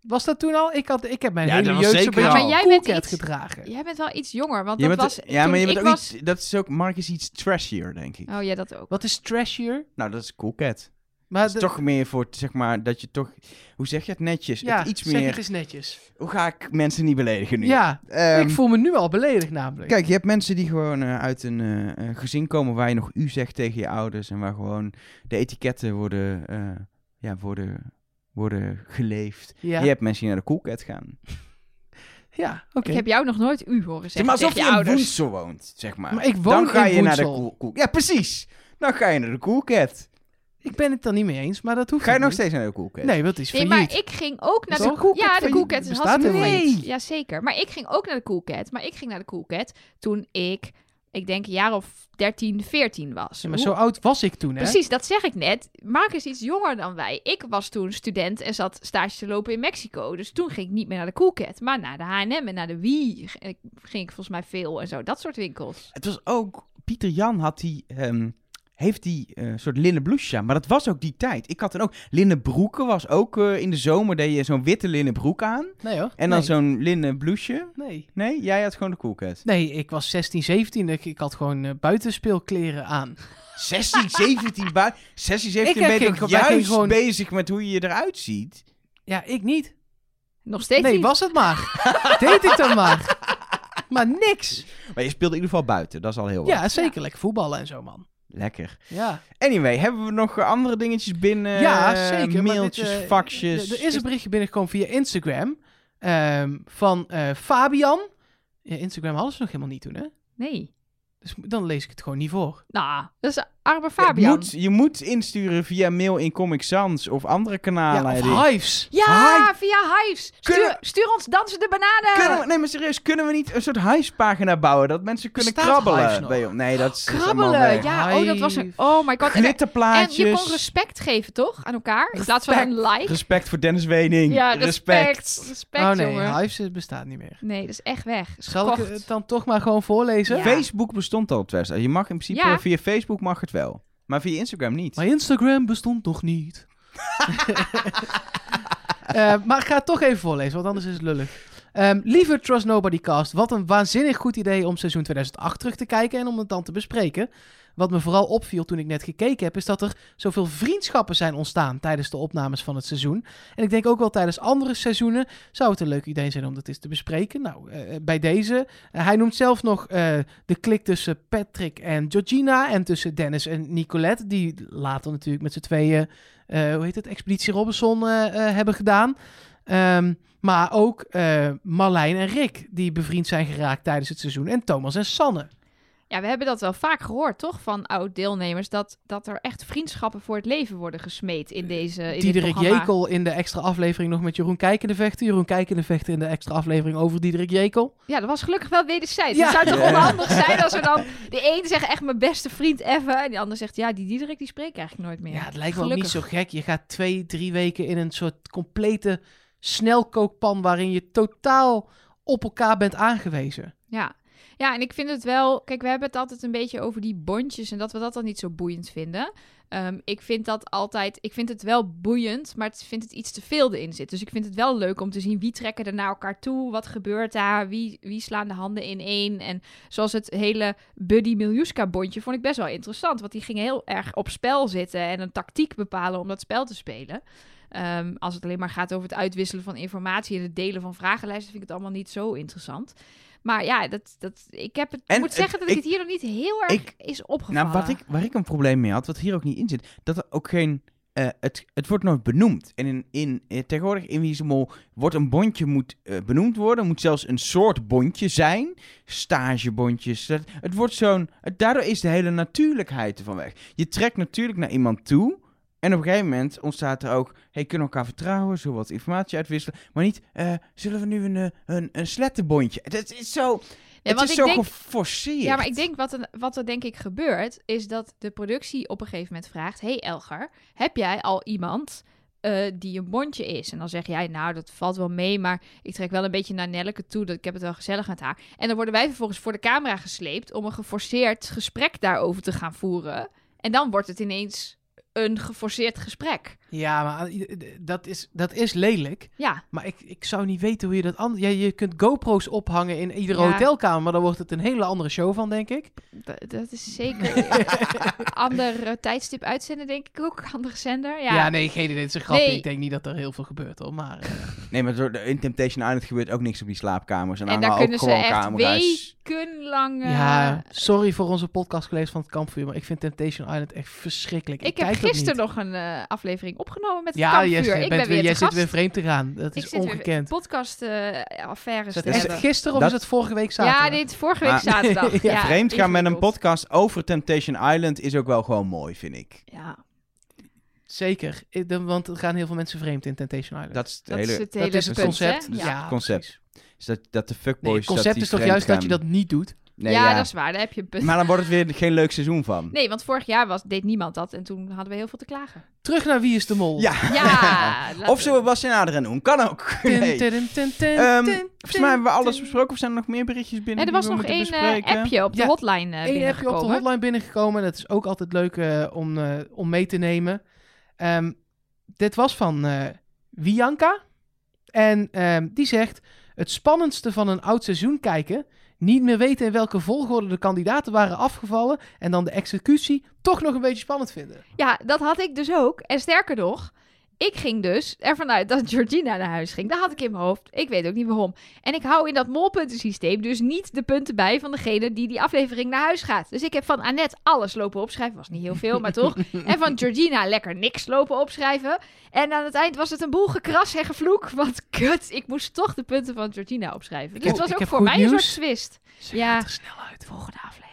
B: Was dat toen al? Ik, had, ik heb mijn
A: Ja, dat
B: hele
A: was
B: jeugd zo'n
A: zeker al.
B: beetje Cool
A: Maar
C: jij
B: Cat
C: bent iets-
B: gedragen.
C: Jij bent wel iets jonger, want
A: Je
C: dat
A: bent-
C: was...
A: ja, maar je
C: toen
A: bent ook
C: ik was...
A: iets, dat is ook, Mark is iets trashier, denk ik.
C: Oh ja, dat ook.
B: Wat is trashier?
A: Nou, dat is cool cat.
B: Maar
A: Het is toch meer voor, zeg maar, dat je toch... Hoe zeg je het netjes?
B: ja,
A: Het iets
B: zeg
A: meer...
B: het eens netjes.
A: Hoe ga ik mensen niet beledigen nu?
B: Ja,
A: Ehm,
B: ik voel me nu al beledigd namelijk.
A: Kijk, je hebt mensen die gewoon eh, uit een eh, eh, gezin komen waar je nog u zegt tegen je ouders. En waar gewoon de etiketten worden, eh, ja, worden, worden geleefd.
B: ja,
A: Je hebt mensen die naar de koelket gaan.
B: ja oké.
C: Ik heb jou nog nooit u horen
A: Zeg
C: zeggen
A: maar alsof je
C: tegen
A: in
C: ouders.
A: Woensel woont, zeg maar.
B: Maar ik woon
A: Dan ga
B: in
A: je naar de
B: Woensel.
A: koel- koel- Ja, precies. Dan ga je naar de koelket.
B: Ik ben het dan niet mee eens, maar dat hoeft
A: Ga je nog
B: niet.
A: steeds naar de koelket?
B: Hm. Nee, want het is
C: Nee,
B: failliet.
C: maar ik ging ook naar
B: Is
C: de
B: er een Cool Cat
C: Ja, de
B: failliet?
C: Cool Cat is
B: Bestaat
C: hartstikke
B: helemaal
C: failliet.
B: niet.
C: Jazeker. Maar ik ging ook naar de Cool Cat. Maar ik ging naar de Cool Cat toen ik, ik denk een jaar of 13, 14 was.
B: Ja, maar
C: Hoe-
B: zo oud was ik toen, hè?
C: Precies, dat zeg ik net. Mark is iets jonger dan wij. Ik was toen student en zat stage te lopen in Mexico. Dus toen ging ik niet meer naar de Cool Cat, maar naar de H&M en naar de Wii. G- ik- Ging ik volgens mij veel en zo, dat soort winkels.
A: Het was ook, Pieter Jan had die, ehm, heeft die eh, soort linnen blouse aan, maar dat was ook die tijd. Ik had dan ook, linnen broeken was ook, eh, in de zomer deed je zo'n witte linnen broek aan.
B: Nee hoor.
A: En dan
B: nee.
A: zo'n linnen blouseje.
B: Nee.
A: Nee, jij had gewoon de koelket.
B: Nee, ik was 16, 17. Ik, ik had gewoon eh, buitenspeelkleren aan.
A: 16, 17 bui. 16, 17
B: Ik
A: ben
B: heb
A: je
B: geen-
A: toch
B: wij gingen
A: juist
B: gewoon-
A: bezig met hoe je eruit ziet?
B: Ja, ik niet.
C: Nog steeds
B: nee,
C: niet.
B: was het maar. Deed ik dan maar. Maar niks.
A: Maar je speelde in ieder geval buiten, dat is al heel wat.
B: Ja, zeker. Lekker voetballen en zo, man.
A: Lekker.
B: Ja,
A: Anyway, hebben we nog eh, andere dingetjes binnen?
B: ja
A: Eh,
B: zeker. maar dit,
A: Mailtjes,
B: eh,
A: faxjes.
B: Er er is een berichtje binnengekomen via Instagram ehm, van eh, Fabian. Ja, Instagram hadden ze nog helemaal niet toen, hè?
C: Nee.
B: Dus dan lees ik het gewoon niet voor.
C: Nou, dat is arme
A: Het
C: Fabian.
A: Moet, je moet insturen via mail in Comic Sans of andere
B: Ja,
A: kanalen.
B: of
A: Die-
B: Hives.
C: Ja, via Hives. Stuur,
A: Kunnen-
C: stuur ons dansende bananen.
A: Kunnen we, nee, maar serieus, kunnen we niet een soort huispagina bouwen dat mensen kunnen
B: Bestaat Hives
A: krabbelen?
B: nog?
A: bij jou? Nee, dat is, is allemaal
C: Krabbelen.
A: weg.
C: Ja, oh, dat was een... Oh my god. En, en
A: Glitterplaatjes.
C: je kon respect geven, toch? Aan elkaar. In plaats van een like.
A: Respect voor Dennis Wening.
C: Ja, respect. Respect,
B: oh nee,
C: jongen.
B: Hives eh, bestaat niet meer.
C: Nee, dat is echt weg. Is
B: Zal ik
C: gekocht.
B: het dan toch maar gewoon voorlezen?
C: Ja.
A: Facebook bestond al op Twitter. Je mag in principe
C: Ja.
A: via Facebook mag het wel. Maar via Instagram niet.
B: Maar Instagram bestond nog niet. Eh, maar ik ga het toch even voorlezen, want anders is het lullig. Ehm, lieve Trust Nobody Cast, wat een waanzinnig goed idee om seizoen 2008 terug te kijken en om het dan te bespreken. Wat me vooral opviel toen ik net gekeken heb, is dat er zoveel vriendschappen zijn ontstaan tijdens de opnames van het seizoen. En ik denk ook wel tijdens andere seizoenen zou het een leuk idee zijn om dat eens te bespreken. Nou, eh, bij deze. eh, hij noemt zelf nog eh, de klik tussen Patrick en Georgina en tussen Dennis en Nicolette, die later natuurlijk met z'n tweeën, eh, hoe heet het, Expeditie Robinson eh, eh, hebben gedaan. Ehm, maar ook eh, Marlijn en Rick, die bevriend zijn geraakt tijdens het seizoen. En Thomas en Sanne.
C: Eh, Ja, we hebben dat wel vaak gehoord, toch? Van oud-deelnemers. Dat, dat er echt vriendschappen voor het leven worden gesmeed in deze. In dit
B: Eh, Diederik
C: programma.
B: Jekel in de extra aflevering nog met Jeroen Kijkende vechten. Jeroen Kijkende vechten in de extra aflevering over Diederik Jekel.
C: Ja, dat was gelukkig wel wederzijds.
B: Ja.
C: Het zou toch
A: Ja.
C: onhandig zijn als er dan. De een zegt echt mijn beste vriend even. En die ander zegt ja, die Diederik die spreek ik eigenlijk nooit meer.
B: Ja, het lijkt me ook
C: Gelukkig.
B: niet zo gek. Je gaat twee, drie weken in een soort complete snelkookpan waarin je totaal op elkaar bent aangewezen.
C: Ja. Ja, en ik vind het wel. Kijk, we hebben het altijd een beetje over die bondjes en dat we dat dan niet zo boeiend vinden. Ehm, ik vind dat altijd. Ik vind het wel boeiend, maar het vind het iets te veel erin zit. Dus ik vind het wel leuk om te zien wie trekken er naar elkaar toe. Wat gebeurt daar? Wie, wie slaan de handen in één? En zoals het hele Buddy Miljuska bondje vond ik best wel interessant. Want die ging heel erg op spel zitten en een tactiek bepalen om dat spel te spelen. Ehm, als het alleen maar gaat over het uitwisselen van informatie en het delen van vragenlijsten, vind ik het allemaal niet zo interessant. Maar ja, dat, dat, ik, heb het, ik
A: En
C: moet
A: het-
C: zeggen dat ik,
A: ik-
C: het hier nog niet heel erg
A: ik-
C: is opgevallen.
A: Nou, wat ik, waar ik een probleem mee had, wat hier ook niet in zit, dat er ook geen. eh, het, het wordt nooit benoemd. En in, in, eh, tegenwoordig in Wiesemol wordt een bondje moet, eh, benoemd worden. Moet zelfs een soort bondje zijn. Stagebondjes. Dat, het wordt zo'n. het- daardoor is de hele natuurlijkheid ervan weg. Je trekt natuurlijk naar iemand toe. En op een gegeven moment ontstaat er ook. Hey, kunnen we elkaar vertrouwen? Zullen we wat informatie uitwisselen? Maar niet. eh, zullen we nu een, eh, een, een slettenbondje? Dat is zo.
C: Nee,
A: het
C: want
A: is
C: ik
A: zo
C: denk-
A: geforceerd.
C: Ja, maar ik denk wat, er- wat er denk ik gebeurt, is dat de productie op een gegeven moment vraagt: Hey Elger, heb jij al iemand eh, die een bondje is? En dan zeg jij, nou, dat valt wel mee, maar ik trek wel een beetje naar Nelleke toe, dat ik heb het wel gezellig met haar. En dan worden wij vervolgens voor de camera gesleept om een geforceerd gesprek daarover te gaan voeren. En dan wordt het ineens een geforceerd gesprek.
B: Ja, maar eh, eh, dat is, dat is lelijk.
C: Ja,
B: Maar ik, ik zou niet weten hoe je dat anders... Ja, je kunt GoPro's ophangen in iedere
C: Ja.
B: hotelkamer, maar dan wordt het een hele andere show van, denk ik.
C: d- dat is zeker. Ander eh, tijdstip uitzenden, denk ik ook. Andere zender.
B: Ja, nee, geen idee. Het is een grapje.
C: Nee.
B: Ik denk niet dat er heel veel gebeurt, hoor. Maar eh,
A: Nee, maar door de- in Temptation Island gebeurt ook niks op die slaapkamers. En,
C: En
A: daar
C: daar kunnen
A: ook
C: ze
A: gewoon
C: echt
A: camera's.
C: wekenlang... eh,
B: ja, sorry voor onze podcastcollega's van het kampvuur, maar ik vind Temptation Island echt verschrikkelijk. Ik,
C: Ik heb
B: kijk dat niet.
C: gisteren nog een eh, aflevering opgenomen met het
B: Ja,
C: kampvuur.
B: Jess,
C: ik
B: jij
C: ben
B: bent weer-
C: weer
B: jij
C: te
B: zit
C: gast.
B: weer vreemd te gaan. Dat
C: Ik
B: is
C: zit weer
B: ongekend.
C: podcast eh, affaires
B: Is
C: te
B: dat echt
C: hebben.
B: gisteren of
A: Dat-
B: is het vorige week zaterdag?
C: Ja, dit vorige week
A: Maar-
C: zaterdag. ja,
A: Vreemd gaan met een
C: ingewikkeld.
A: podcast over Temptation Island is ook wel gewoon mooi, vind ik.
C: Ja,
B: Zeker, Ik- dan- want er gaan heel veel mensen vreemd in Temptation Island.
A: Dat is het
C: dat
A: hele
C: is het
B: Dat
C: hele
B: is het
C: punt,
B: concept.
C: hè? Ja.
B: Ja,
A: concept.
B: precies.
A: Is dat, dat de
B: Nee,
A: fuckboys...
B: het
A: dat
B: concept
A: die
B: is toch
A: vreemd
B: juist dat je
A: gaan.
B: dat niet doet?
A: Nee,
C: ja, dat is waar. Daar heb je een punt.
A: Maar dan wordt het weer geen leuk seizoen van.
C: Nee, want vorig jaar was, deed niemand dat en toen hadden we heel veel te klagen.
B: Terug naar Wie is de Mol.
A: Ja.
C: Ja, laten
A: of
C: we-
A: zullen we Bas en Adriaan doen? Kan ook.
B: Tin,
A: Nee.
B: tin, tin, tin,
A: Ehm,
B: tin,
A: Volgens mij hebben we alles
B: tin.
A: besproken. Of zijn er nog meer berichtjes binnen
C: Nee,
A: die
C: er was
A: we
C: nog één
A: moeten
C: eh,
A: bespreken?
C: appje op de
B: Ja,
C: hotline
B: Eén
C: eh
B: appje op de
C: binnengekomen.
B: hotline binnengekomen. Dat is ook altijd leuk eh, om, eh, om mee te nemen. Ehm, dit was van eh Wianka. En ehm, die zegt... Het spannendste van een oud seizoen kijken... niet meer weten in welke volgorde de kandidaten waren afgevallen... en dan de executie toch nog een beetje spannend vinden.
C: Ja, dat had ik dus ook. En sterker nog, ik ging dus ervan uit dat Georgina naar huis ging. Dat had ik in mijn hoofd. Ik weet ook niet waarom. En ik hou in dat molpuntensysteem dus niet de punten bij van degene die die aflevering naar huis gaat. Dus ik heb van Annette alles lopen opschrijven. Was niet heel veel, maar toch. En van Georgina lekker niks lopen opschrijven. En aan het eind was het een boel gekras en gevloek. Want kut, ik moest toch de punten van Georgina opschrijven. Dus
B: heb-
C: het was
B: ik
C: ook
B: heb
C: voor
B: goed
C: mij een
B: nieuws.
C: soort twist.
B: Ze
C: Ja.
B: gaat er snel uit.
C: Volgende aflevering.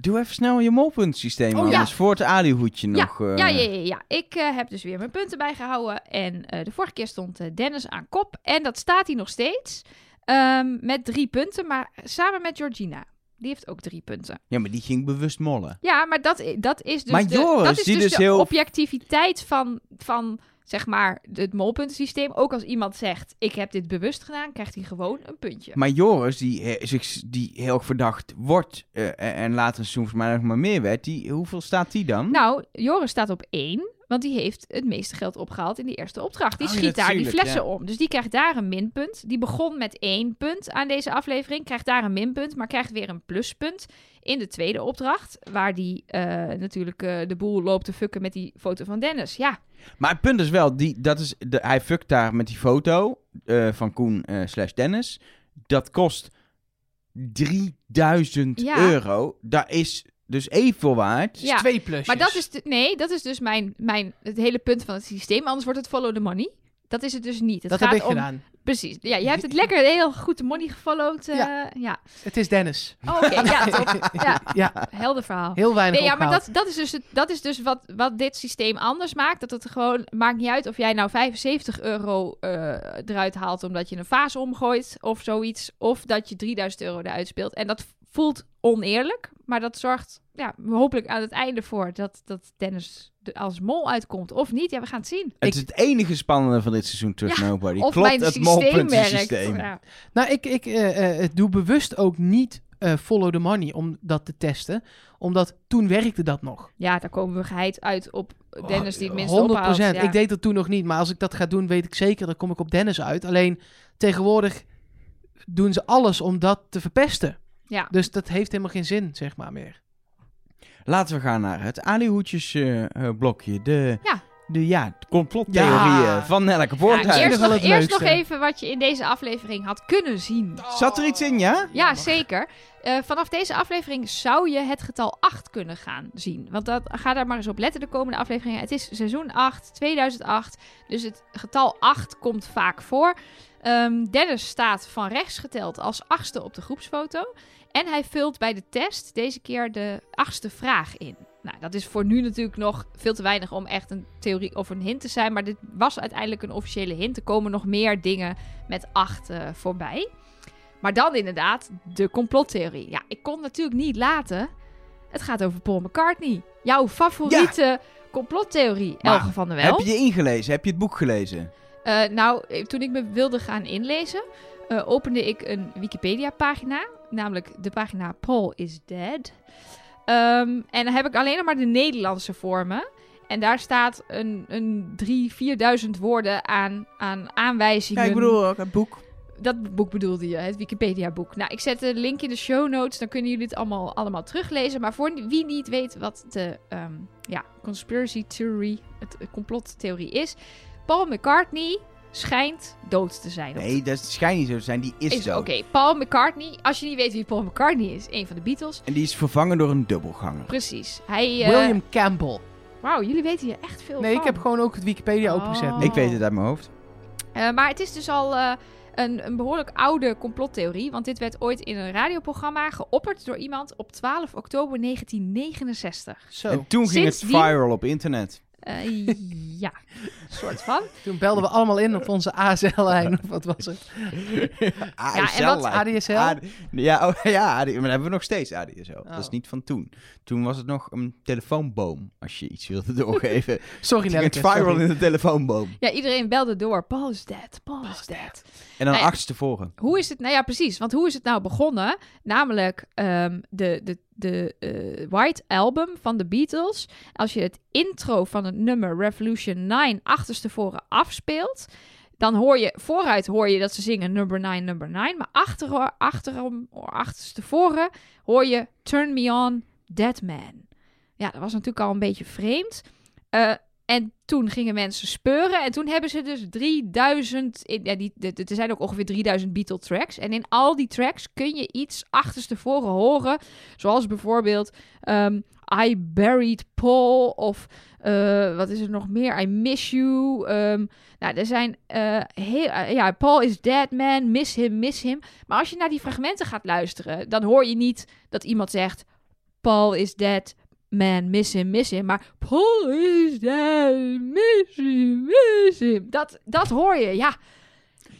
A: Doe even snel je molpuntsysteem.
C: Oh, ja.
A: Anders voor het alihoedje nog. eh,
C: Ja, ja, ja, ja. Ik eh, heb dus weer mijn punten bijgehouden. En eh, de vorige keer stond eh, Dennis aan kop. En dat staat hij nog steeds. Ehm, met drie punten, maar samen met Georgina. Die heeft ook drie punten.
A: Ja, maar die ging bewust mollen.
C: Ja, maar dat, i- dat is dus,
A: Maar
C: de,
A: Joris,
C: dat is
A: die
C: dus
A: dus
C: de
A: heel-
C: objectiviteit van, van zeg maar, het molpuntensysteem. Ook als iemand zegt, ik heb dit bewust gedaan, krijgt hij gewoon een puntje.
A: Maar Joris, die, he- zich, die heel erg verdacht wordt eh, en- en later een seizoen volgens mij nog maar meer werd, die, hoeveel staat die dan?
C: Nou, Joris staat op één, want die heeft het meeste geld opgehaald in de eerste opdracht. Die
B: Ah,
A: Oh, ja,
C: schiet daar die
A: natuurlijk,
C: flessen om. Dus die krijgt daar een minpunt. Die begon met één punt aan deze aflevering, krijgt daar een minpunt, maar krijgt weer een pluspunt in de tweede opdracht. Waar die eh, natuurlijk eh, de boel loopt te fucken met die foto van Dennis. Ja,
A: Maar het punt is wel, die, dat is de, hij fuckt daar met die foto eh, van Koen eh, slash Dennis. Dat kost 3000
C: Ja.
A: euro. Dat is dus evenveel waard.
C: Ja,
B: Twee plusjes.
C: maar dat is, de- nee, dat is dus mijn, mijn, het hele punt van het systeem. Anders wordt het follow the money. Dat is het dus niet. Het
B: dat
C: gaat
B: heb ik
C: om,
B: gedaan.
C: Precies. Ja, jij hebt het lekker heel goed de money gefollowed. eh, ja.
B: Het is Dennis.
C: Oh, Oké, ja, top. Ja,
B: Ja.
C: helder verhaal.
B: Heel weinig
C: Nee, ja, maar
B: opgehaald.
C: dat, dat is dus, het- dat is dus wat, wat dit systeem anders maakt. Dat het gewoon maakt niet uit of jij nou 75 euro eh, eruit haalt omdat je een vaas omgooit of zoiets. Of dat je 3000 euro eruit speelt. En dat voelt oneerlijk, maar dat zorgt ja, hopelijk aan het einde voor dat, dat Dennis er als mol uitkomt. Of niet, ja, we gaan het zien.
A: Het is het enige spannende van dit seizoen Trust
C: Ja,
A: Nobody.
C: of
A: Klopt
C: mijn
A: het
C: systeem werkt.
A: molpuntensysteem.
C: Ja.
B: Nou, ik, ik eh, eh, doe eh, bewust ook niet eh, Follow the Money om dat te testen. Omdat toen werkte dat nog.
C: Ja, daar komen we geheid uit op Dennis
A: Oh,
C: die het minste
B: 100
C: ophaalt. Ja.
B: Ik deed dat toen nog niet, maar als ik dat ga doen, weet ik zeker, dan kom ik op Dennis uit. Alleen tegenwoordig doen ze alles om dat te verpesten.
C: Ja.
B: Dus dat heeft helemaal geen zin, zeg maar meer.
A: Laten we gaan naar het alihoedjes eh, eh, blokje. De,
C: Ja.
A: de, ja, de complottheorieën
B: Ja.
A: van Nelke
C: Ja,
A: Poorthuis.
C: Nou, eerst
B: nog wel
C: nog,
B: het
C: eerst nog
B: leukste.
C: even wat je in deze aflevering had kunnen zien.
A: Zat er iets in, ja?
C: Ja, zeker. Eh, vanaf deze aflevering zou je het getal 8 kunnen gaan zien. Want dat, ga daar maar eens op letten de komende afleveringen. Het is seizoen 8, 2008. Dus het getal 8 komt vaak voor. Ehm, Dennis staat van rechts geteld als achtste op de groepsfoto. En hij vult bij de test deze keer de achtste vraag in. Nou, dat is voor nu natuurlijk nog veel te weinig om echt een theorie of een hint te zijn. Maar dit was uiteindelijk een officiële hint. Er komen nog meer dingen met 8 eh, voorbij. Maar dan inderdaad de complottheorie. Ja, ik kon natuurlijk niet laten. Het gaat over Paul McCartney. Jouw favoriete complottheorie,
A: Maar
C: Elge van der Wel.
A: Heb je je ingelezen? Heb je het boek gelezen?
C: Eh, nou, eh, toen ik me wilde gaan inlezen, eh, opende ik een Wikipedia-pagina. Namelijk de pagina Paul is Dead. Ehm, en dan heb ik alleen nog maar de Nederlandse vormen. En daar staat een, een 3.000, 4.000 woorden aan, aan aanwijzingen.
A: ook het boek.
C: Dat boek bedoelde je, het Wikipedia-boek. Nou, ik zet de link in de show notes. Dan kunnen jullie het allemaal, allemaal teruglezen. Maar voor wie niet weet wat de ehm, ja, conspiracy theory, het eh, complottheorie is. Paul McCartney schijnt dood te zijn.
A: Nee, dat schijnt niet zo te zijn. Die is,
C: is
A: zo.
C: Oké, Paul McCartney. Als je niet weet wie Paul McCartney is, een van de Beatles.
A: En die is vervangen door een dubbelganger.
C: Precies. Hij, eh,
B: William Campbell.
C: Wauw, jullie weten hier echt veel
B: Nee,
C: van.
B: ik heb gewoon ook het Wikipedia
C: Oh.
B: opengezet.
A: Ik weet het uit mijn hoofd.
C: Eh, maar het is dus al eh, een, een behoorlijk oude complottheorie. Want dit werd ooit in een radioprogramma geopperd door iemand op 12 oktober 1969.
B: Zo,
A: En toen ging het
C: Sindsdien-
A: viral op internet.
C: Eh, ja, soort van.
B: toen belden we allemaal in op onze ASL-lijn of wat was het?
A: ASL
C: en wat-
A: lijkt-
B: ADSL?
A: AD ja, oh, ja AD maar dan hebben we nog steeds ADSL. Dat is
B: Oh.
A: niet van toen. Toen was het nog een telefoonboom, als je iets wilde doorgeven.
B: Sorry
A: Toen ging het
B: Nelke,
A: viral
B: sorry.
A: in de telefoonboom.
C: Ja, iedereen belde door. Paul is dead, Paul is dead.
A: En dan
C: Nee.
A: achter tevoren.
C: Hoe is het? Nou ja, precies. Want hoe is het nou begonnen? Namelijk ehm, de, de, de eh, White Album van de Beatles. Als je het intro van het nummer Revolution 9 achterstevoren afspeelt, dan hoor je vooruit hoor je dat ze zingen number 9, number 9. Maar achter, achterom, achterstevoren hoor je Turn Me On, Dead Man. Ja, dat was natuurlijk al een beetje vreemd. Eh, en toen gingen mensen speuren. En toen hebben ze dus 3000. in- Ja, die, de- de- er zijn ook ongeveer 3000 Beatle tracks. En in al die tracks kun je iets achterstevoren horen. Zoals bijvoorbeeld ehm, I Buried Paul. Of eh, wat is er nog meer? I Miss You. ehm, nou, er zijn. eh, heel, eh, ja, Paul is dead man. Miss him, miss him. Maar als je naar die fragmenten gaat luisteren, dan hoor je niet dat iemand zegt: Paul is dead. Man, miss him, miss him. Maar Paul is dead, miss him, miss him. Dat, dat hoor je, ja.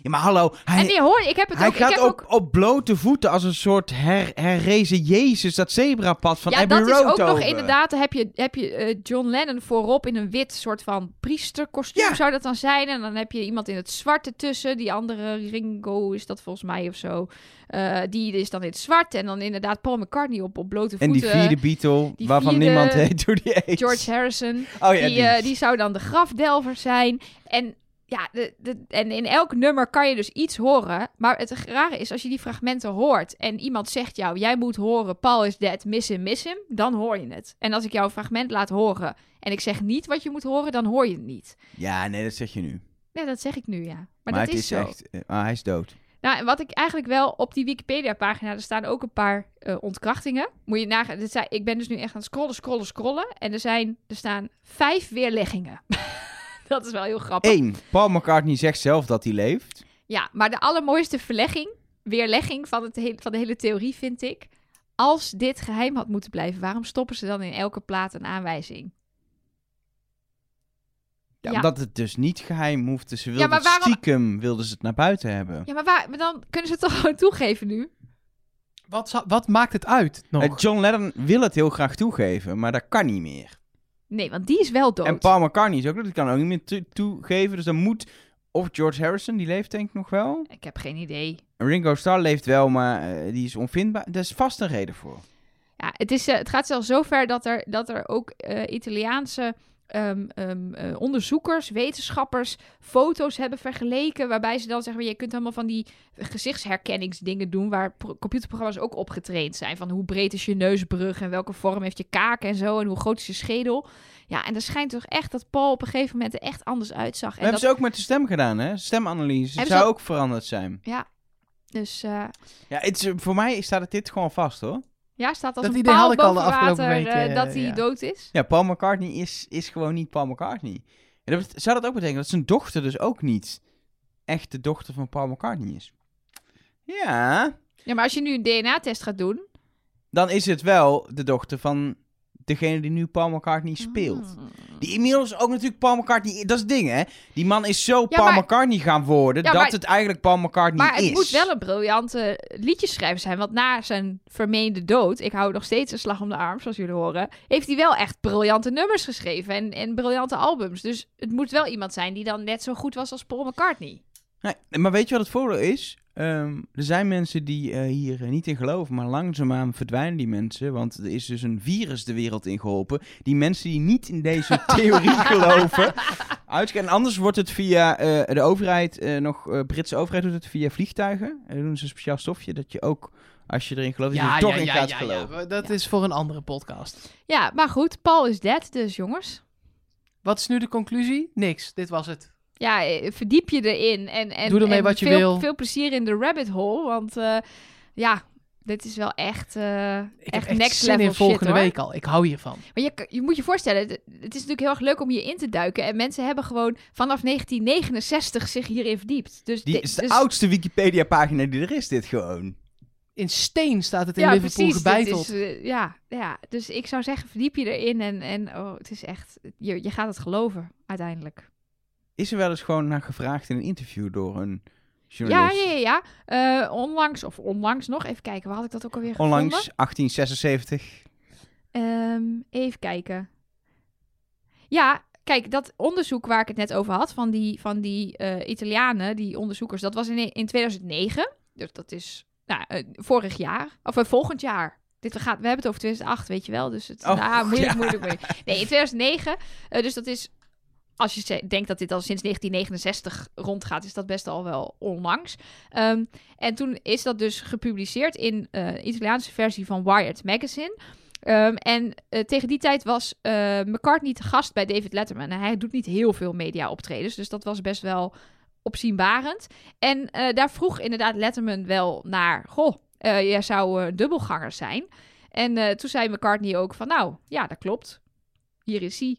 A: Ja, maar hallo, hij,
C: en nee, hoor, ik heb het
A: hij
C: ook. ik
A: gaat
C: heb
A: op, op blote voeten als een soort her, herrezen Jezus dat zebrapad van
C: ja,
A: Abbey
C: dat is
A: Road
C: ook nog
A: over.
C: inderdaad. Heb je, heb je eh, John Lennon voorop in een wit soort van priesterkostuum,
A: Ja.
C: zou dat dan zijn? En dan heb je iemand in het zwart ertussen. Die andere Ringo is dat volgens mij of zo. Eh, die is dan in het zwart. En dan inderdaad Paul McCartney op, op blote
A: En
C: voeten.
A: die vierde Beatle,
C: die
A: waarvan
C: vierde-
A: niemand heet hoe die heet.
C: George Harrison.
A: oh, ja,
C: die, eh, die zou dan de grafdelver zijn. En, ja, de, de, en in elk nummer kan je dus iets horen. Maar het rare is, als je die fragmenten hoort en iemand zegt jou... jij moet horen, Paul is dead, miss him, miss him, dan hoor je het. En als ik jou een fragment laat horen en ik zeg niet wat je moet horen... dan hoor je het niet.
A: Ja, nee, dat zeg je nu. Maar,
C: Ja, dat zeg ik nu, ja. Maar, dat
A: het is,
C: zo.
A: echt... eh, ah, hij is dood.
C: Nou, en wat ik eigenlijk wel op die Wikipedia-pagina, er staan ook een paar eh, ontkrachtingen. Moet je nagaan, dit zijn- ik ben dus nu echt aan het scrollen, scrollen, scrollen. En er, zijn, er staan vijf weerleggingen. dat is wel heel grappig.
A: Eén, Paul McCartney zegt zelf dat hij leeft.
C: Ja, maar de allermooiste verlegging, weerlegging van, het hele, van de hele theorie vind ik. Als dit geheim had moeten blijven, waarom stoppen ze dan in elke plaat een aanwijzing?
A: Ja,
C: Ja.
A: Omdat het dus niet geheim hoeft. Dus ze wilden
C: maar
A: het
C: waarom-
A: stiekem wilden ze het naar buiten hebben.
C: Ja, maar, waar, maar dan kunnen ze het toch gewoon toegeven nu?
B: Wat, zou- wat maakt het uit nog?
A: En Eh, John Lennon wil het heel graag toegeven, maar dat kan niet meer.
C: Nee, want die is wel dood.
A: En Paul McCartney is ook, dat kan ook niet meer to- toegeven. Dus dan moet Of George Harrison, die leeft denk ik nog wel.
C: Ik heb geen idee.
A: Ringo Starr leeft wel, maar eh, die is onvindbaar. Daar is vast een reden voor.
C: Ja, het, is, eh, het gaat zelfs zover dat er, dat er ook eh, Italiaanse ehm, ehm, eh, onderzoekers, wetenschappers, foto's hebben vergeleken. Waarbij ze dan zeggen, je kunt allemaal van die gezichtsherkenningsdingen doen. Waar pro- computerprogramma's ook op getraind zijn. Van hoe breed is je neusbrug en welke vorm heeft je kaak en zo. En hoe groot is je schedel. Ja, en er schijnt toch echt dat Paul op een gegeven moment er echt anders uitzag.
A: We
C: En
A: hebben
C: dat,
A: ze ook met de stem gedaan, hè? Stemanalyse. Het
C: Hebben
A: zou
C: ze al-
A: ook veranderd zijn.
C: Dus eh,
A: Ja, het is, voor mij staat dit gewoon vast, hoor.
C: ja, staat als
B: Dat
C: een
B: idee had
C: paal
B: ik al de
C: boven
B: afgelopen
C: water,
B: weken,
C: eh, dat
B: eh,
C: hij
B: ja.
C: dood is.
A: Ja, Paul McCartney is, is gewoon niet Paul McCartney. En dat bet- zou dat ook betekenen dat zijn dochter dus ook niet echt de dochter van Paul McCartney is? Ja,
C: Ja, maar als je nu een DNA-test gaat doen...
A: dan is het wel de dochter van degene die nu Paul McCartney speelt.
C: Hmm.
A: Die inmiddels ook natuurlijk Paul McCartney... Dat is het ding, hè? Die man is zo
C: Ja,
A: Paul
C: maar-
A: McCartney gaan worden...
C: Ja,
A: dat
C: maar-
A: het eigenlijk Paul McCartney
C: Maar het
A: is.
C: moet wel een briljante liedjeschrijver zijn. Want na zijn vermeende dood, ik hou nog steeds een slag om de arm, zoals jullie horen, heeft hij wel echt briljante nummers geschreven en, en briljante albums. Dus het moet wel iemand zijn die dan net zo goed was als Paul McCartney.
A: Nee, maar weet je wat het voordeel is? Ehm, er zijn mensen die eh, hier eh, niet in geloven, maar langzaamaan verdwijnen die mensen. Want er is dus een virus de wereld in geholpen. Die mensen die niet in deze theorie geloven. Uit, en anders wordt het via eh, de overheid, eh, nog eh, Britse overheid doet het via vliegtuigen. Er doen ze een speciaal stofje dat je ook, als je erin gelooft, dat je er toch in gaat geloven.
B: maar Dat is voor een andere podcast.
C: Ja, maar goed, Paul is dead, dus jongens.
B: Wat is nu de conclusie? Niks. Dit was het.
C: Ja, eh, verdiep je erin. En, en,
B: Doe ermee
C: en
B: wat je
C: veel,
B: wil.
C: Veel plezier in de rabbit hole, want eh, ja, dit is wel echt, eh,
B: Ik
C: echt,
B: heb echt
C: next
B: zin
C: level
B: in volgende
C: shit, hoor.
B: week al. Ik hou hiervan.
C: Maar je, je moet je voorstellen, het het is natuurlijk heel erg leuk om hierin te duiken. En mensen hebben gewoon vanaf 1969 zich hierin verdiept. Dus
A: Die
C: dit-
A: is de
C: dus-
A: oudste Wikipedia pagina die er is, dit gewoon.
B: In steen staat het in
C: ja,
B: Liverpool
C: precies, dit
B: gebeiteld.
C: is, eh, ja, ja, dus ik zou zeggen, verdiep je erin. En, en oh, het is echt, je, je gaat het geloven uiteindelijk.
A: Is er wel eens gewoon naar gevraagd in een interview door een
C: Ja,
A: journalist?
C: ja, ja. ja. Eh, onlangs, of onlangs nog, even kijken, waar had ik dat ook alweer
A: Onlangs
C: gevonden?
A: 1876.
C: Ehm, even kijken. Ja, kijk, dat onderzoek waar ik het net over had, van die, van die eh, Italianen, die onderzoekers, dat was in, in 2009. Dus dat is nou, eh, vorig jaar, of eh, volgend jaar. Dit, we, gaan, we hebben het over 2008, weet je wel. Dus het,
A: Oh,
C: ah, moeilijk,
A: ja.
C: moeilijk, moeilijk. Nee, in 2009. eh, dus dat is, als je ze- denkt dat dit al sinds 1969 rondgaat, is dat best al wel onlangs. Ehm, en toen is dat dus gepubliceerd in eh, de Italiaanse versie van Wired Magazine. Ehm, en eh, tegen die tijd was eh, McCartney te gast bij David Letterman. En hij doet niet heel veel media-optredens, dus dat was best wel opzienbarend. En eh, daar vroeg inderdaad Letterman wel naar: Goh, eh, jij zou eh, dubbelganger zijn. En eh, toen zei McCartney ook van: Nou, ja, dat klopt. Hier is hij.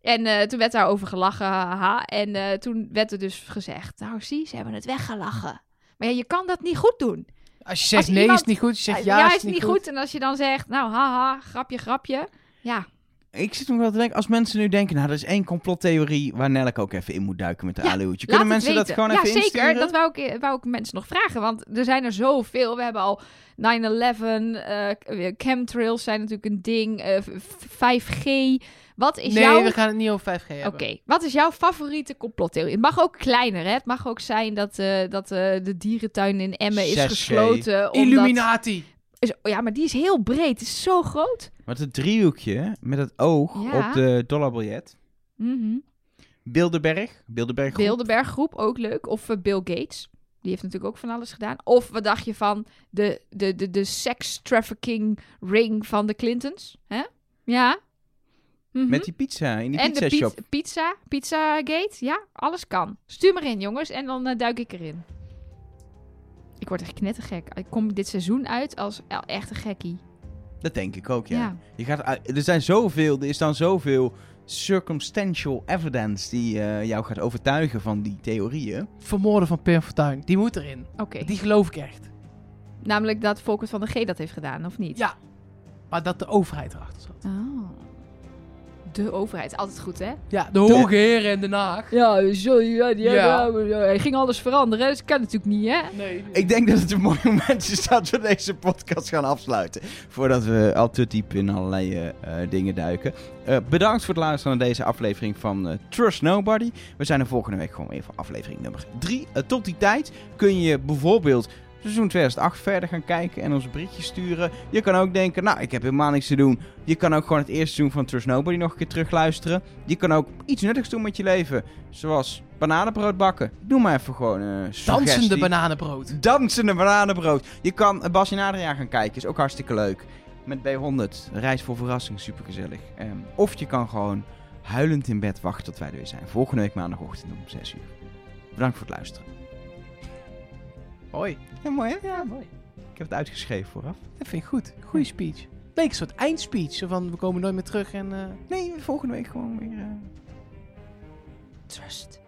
C: En eh, toen werd daarover gelachen, haha. En eh, toen werd er dus gezegd: Nou, zie, ze hebben het weggelachen. Maar ja, je kan dat niet goed doen
B: Als je zegt
C: Als
B: nee
C: iemand-
B: is het niet goed, je zegt ja,
C: ja,
B: is het niet goed.
C: En als je dan zegt, nou haha, grapje, grapje. Ja,
A: Ik zit nog wel te denken, als mensen nu denken, nou, dat is één complottheorie waar Nelk ook even in moet duiken met de
C: Ja,
A: aluhoedje.
C: laat
A: Kunnen
C: het
A: mensen dat
C: weten.
A: gewoon
C: ja,
A: even
C: zeker.
A: insturen?
C: Dat wou ik, eh, wou ik mensen nog vragen, want er zijn er zoveel. We hebben al 9-11, eh, chemtrails zijn natuurlijk een ding, eh, v- 5G. Wat is
B: nee,
C: jouw...
B: we gaan het niet over 5G hebben.
C: Oké, wat is jouw favoriete complottheorie? Het mag ook kleiner, hè? Het mag ook zijn dat, eh, dat eh, de dierentuin in Emmen is
A: 6G.
C: gesloten. Omdat...
B: Illuminati.
C: Is- Ja, maar die is heel breed. Het is zo groot.
A: Want het driehoekje met het oog
C: Ja.
A: op de dollarbiljet.
C: Mhm.
A: Bilderberg. Bilderberg. groep.
C: Bilderberg groep ook leuk. Of eh, Bill Gates. Die heeft natuurlijk ook van alles gedaan. Of wat dacht je van de, de, de, de sex trafficking ring van de Clintons? Hè? Ja. Mhm.
A: Met die pizza in die
C: en
A: pizza
C: de
A: shop.
C: pi- pizza, pizza gate. Ja, alles kan. Stuur maar in, jongens. En dan eh, duik ik erin. Ik word echt knettergek. Ik kom dit seizoen uit als e- echt een gekkie.
A: Dat denk ik ook, ja.
C: Ja.
A: Je gaat, uit- er zijn zoveel, er is dan zoveel circumstantial evidence die eh, jou gaat overtuigen van die theorieën.
B: Vermoorden van Pim Fortuyn. Die moet erin.
C: Oké.
B: Die geloof ik echt.
C: Namelijk dat Volkert van de G dat heeft gedaan, of niet?
B: Ja. Maar dat de overheid erachter zat.
C: Oh. de overheid. is Altijd goed, hè?
B: Ja, de hoge heren en Den Haag.
C: Ja, zo, ja, die,
B: Ja. ja,
C: hij ging alles veranderen. Dat kan natuurlijk niet, hè?
B: Nee.
A: Ik denk dat het een mooi moment is dat we deze podcast gaan afsluiten. Voordat we al te diep in allerlei eh, eh, dingen duiken. Eh, bedankt voor het luisteren naar deze aflevering van eh, Trust Nobody. We zijn er volgende week gewoon weer voor aflevering nummer 3. tot die tijd kun je bijvoorbeeld seizoen 2008 verder gaan kijken en ons een berichtje sturen. Je kan ook denken, nou, ik heb helemaal niks te doen. Je kan ook gewoon het eerste seizoen van Trust Nobody nog een keer terugluisteren. Je kan ook iets nuttigs doen met je leven. Zoals bananenbrood bakken. Doe maar even gewoon een
B: Dansende
A: suggestie.
B: bananenbrood.
A: Dansende bananenbrood. Je kan eh, Bas en Adriaan gaan kijken. Is ook hartstikke leuk. Met B100. Reis voor verrassing. Supergezellig. Ehm, of je kan gewoon huilend in bed wachten tot wij er weer zijn. Volgende week maandagochtend om 6 uur. Bedankt voor het luisteren.
B: Hoi.
A: Ja, mooi hè?
B: Ja, mooi.
A: Ik heb het uitgeschreven vooraf.
B: Dat vind ik goed. Goeie speech. Leek een soort eindspeech. Zo van, we komen nooit meer terug en... eh,
A: Nee, volgende week gewoon weer... eh,
C: Trust.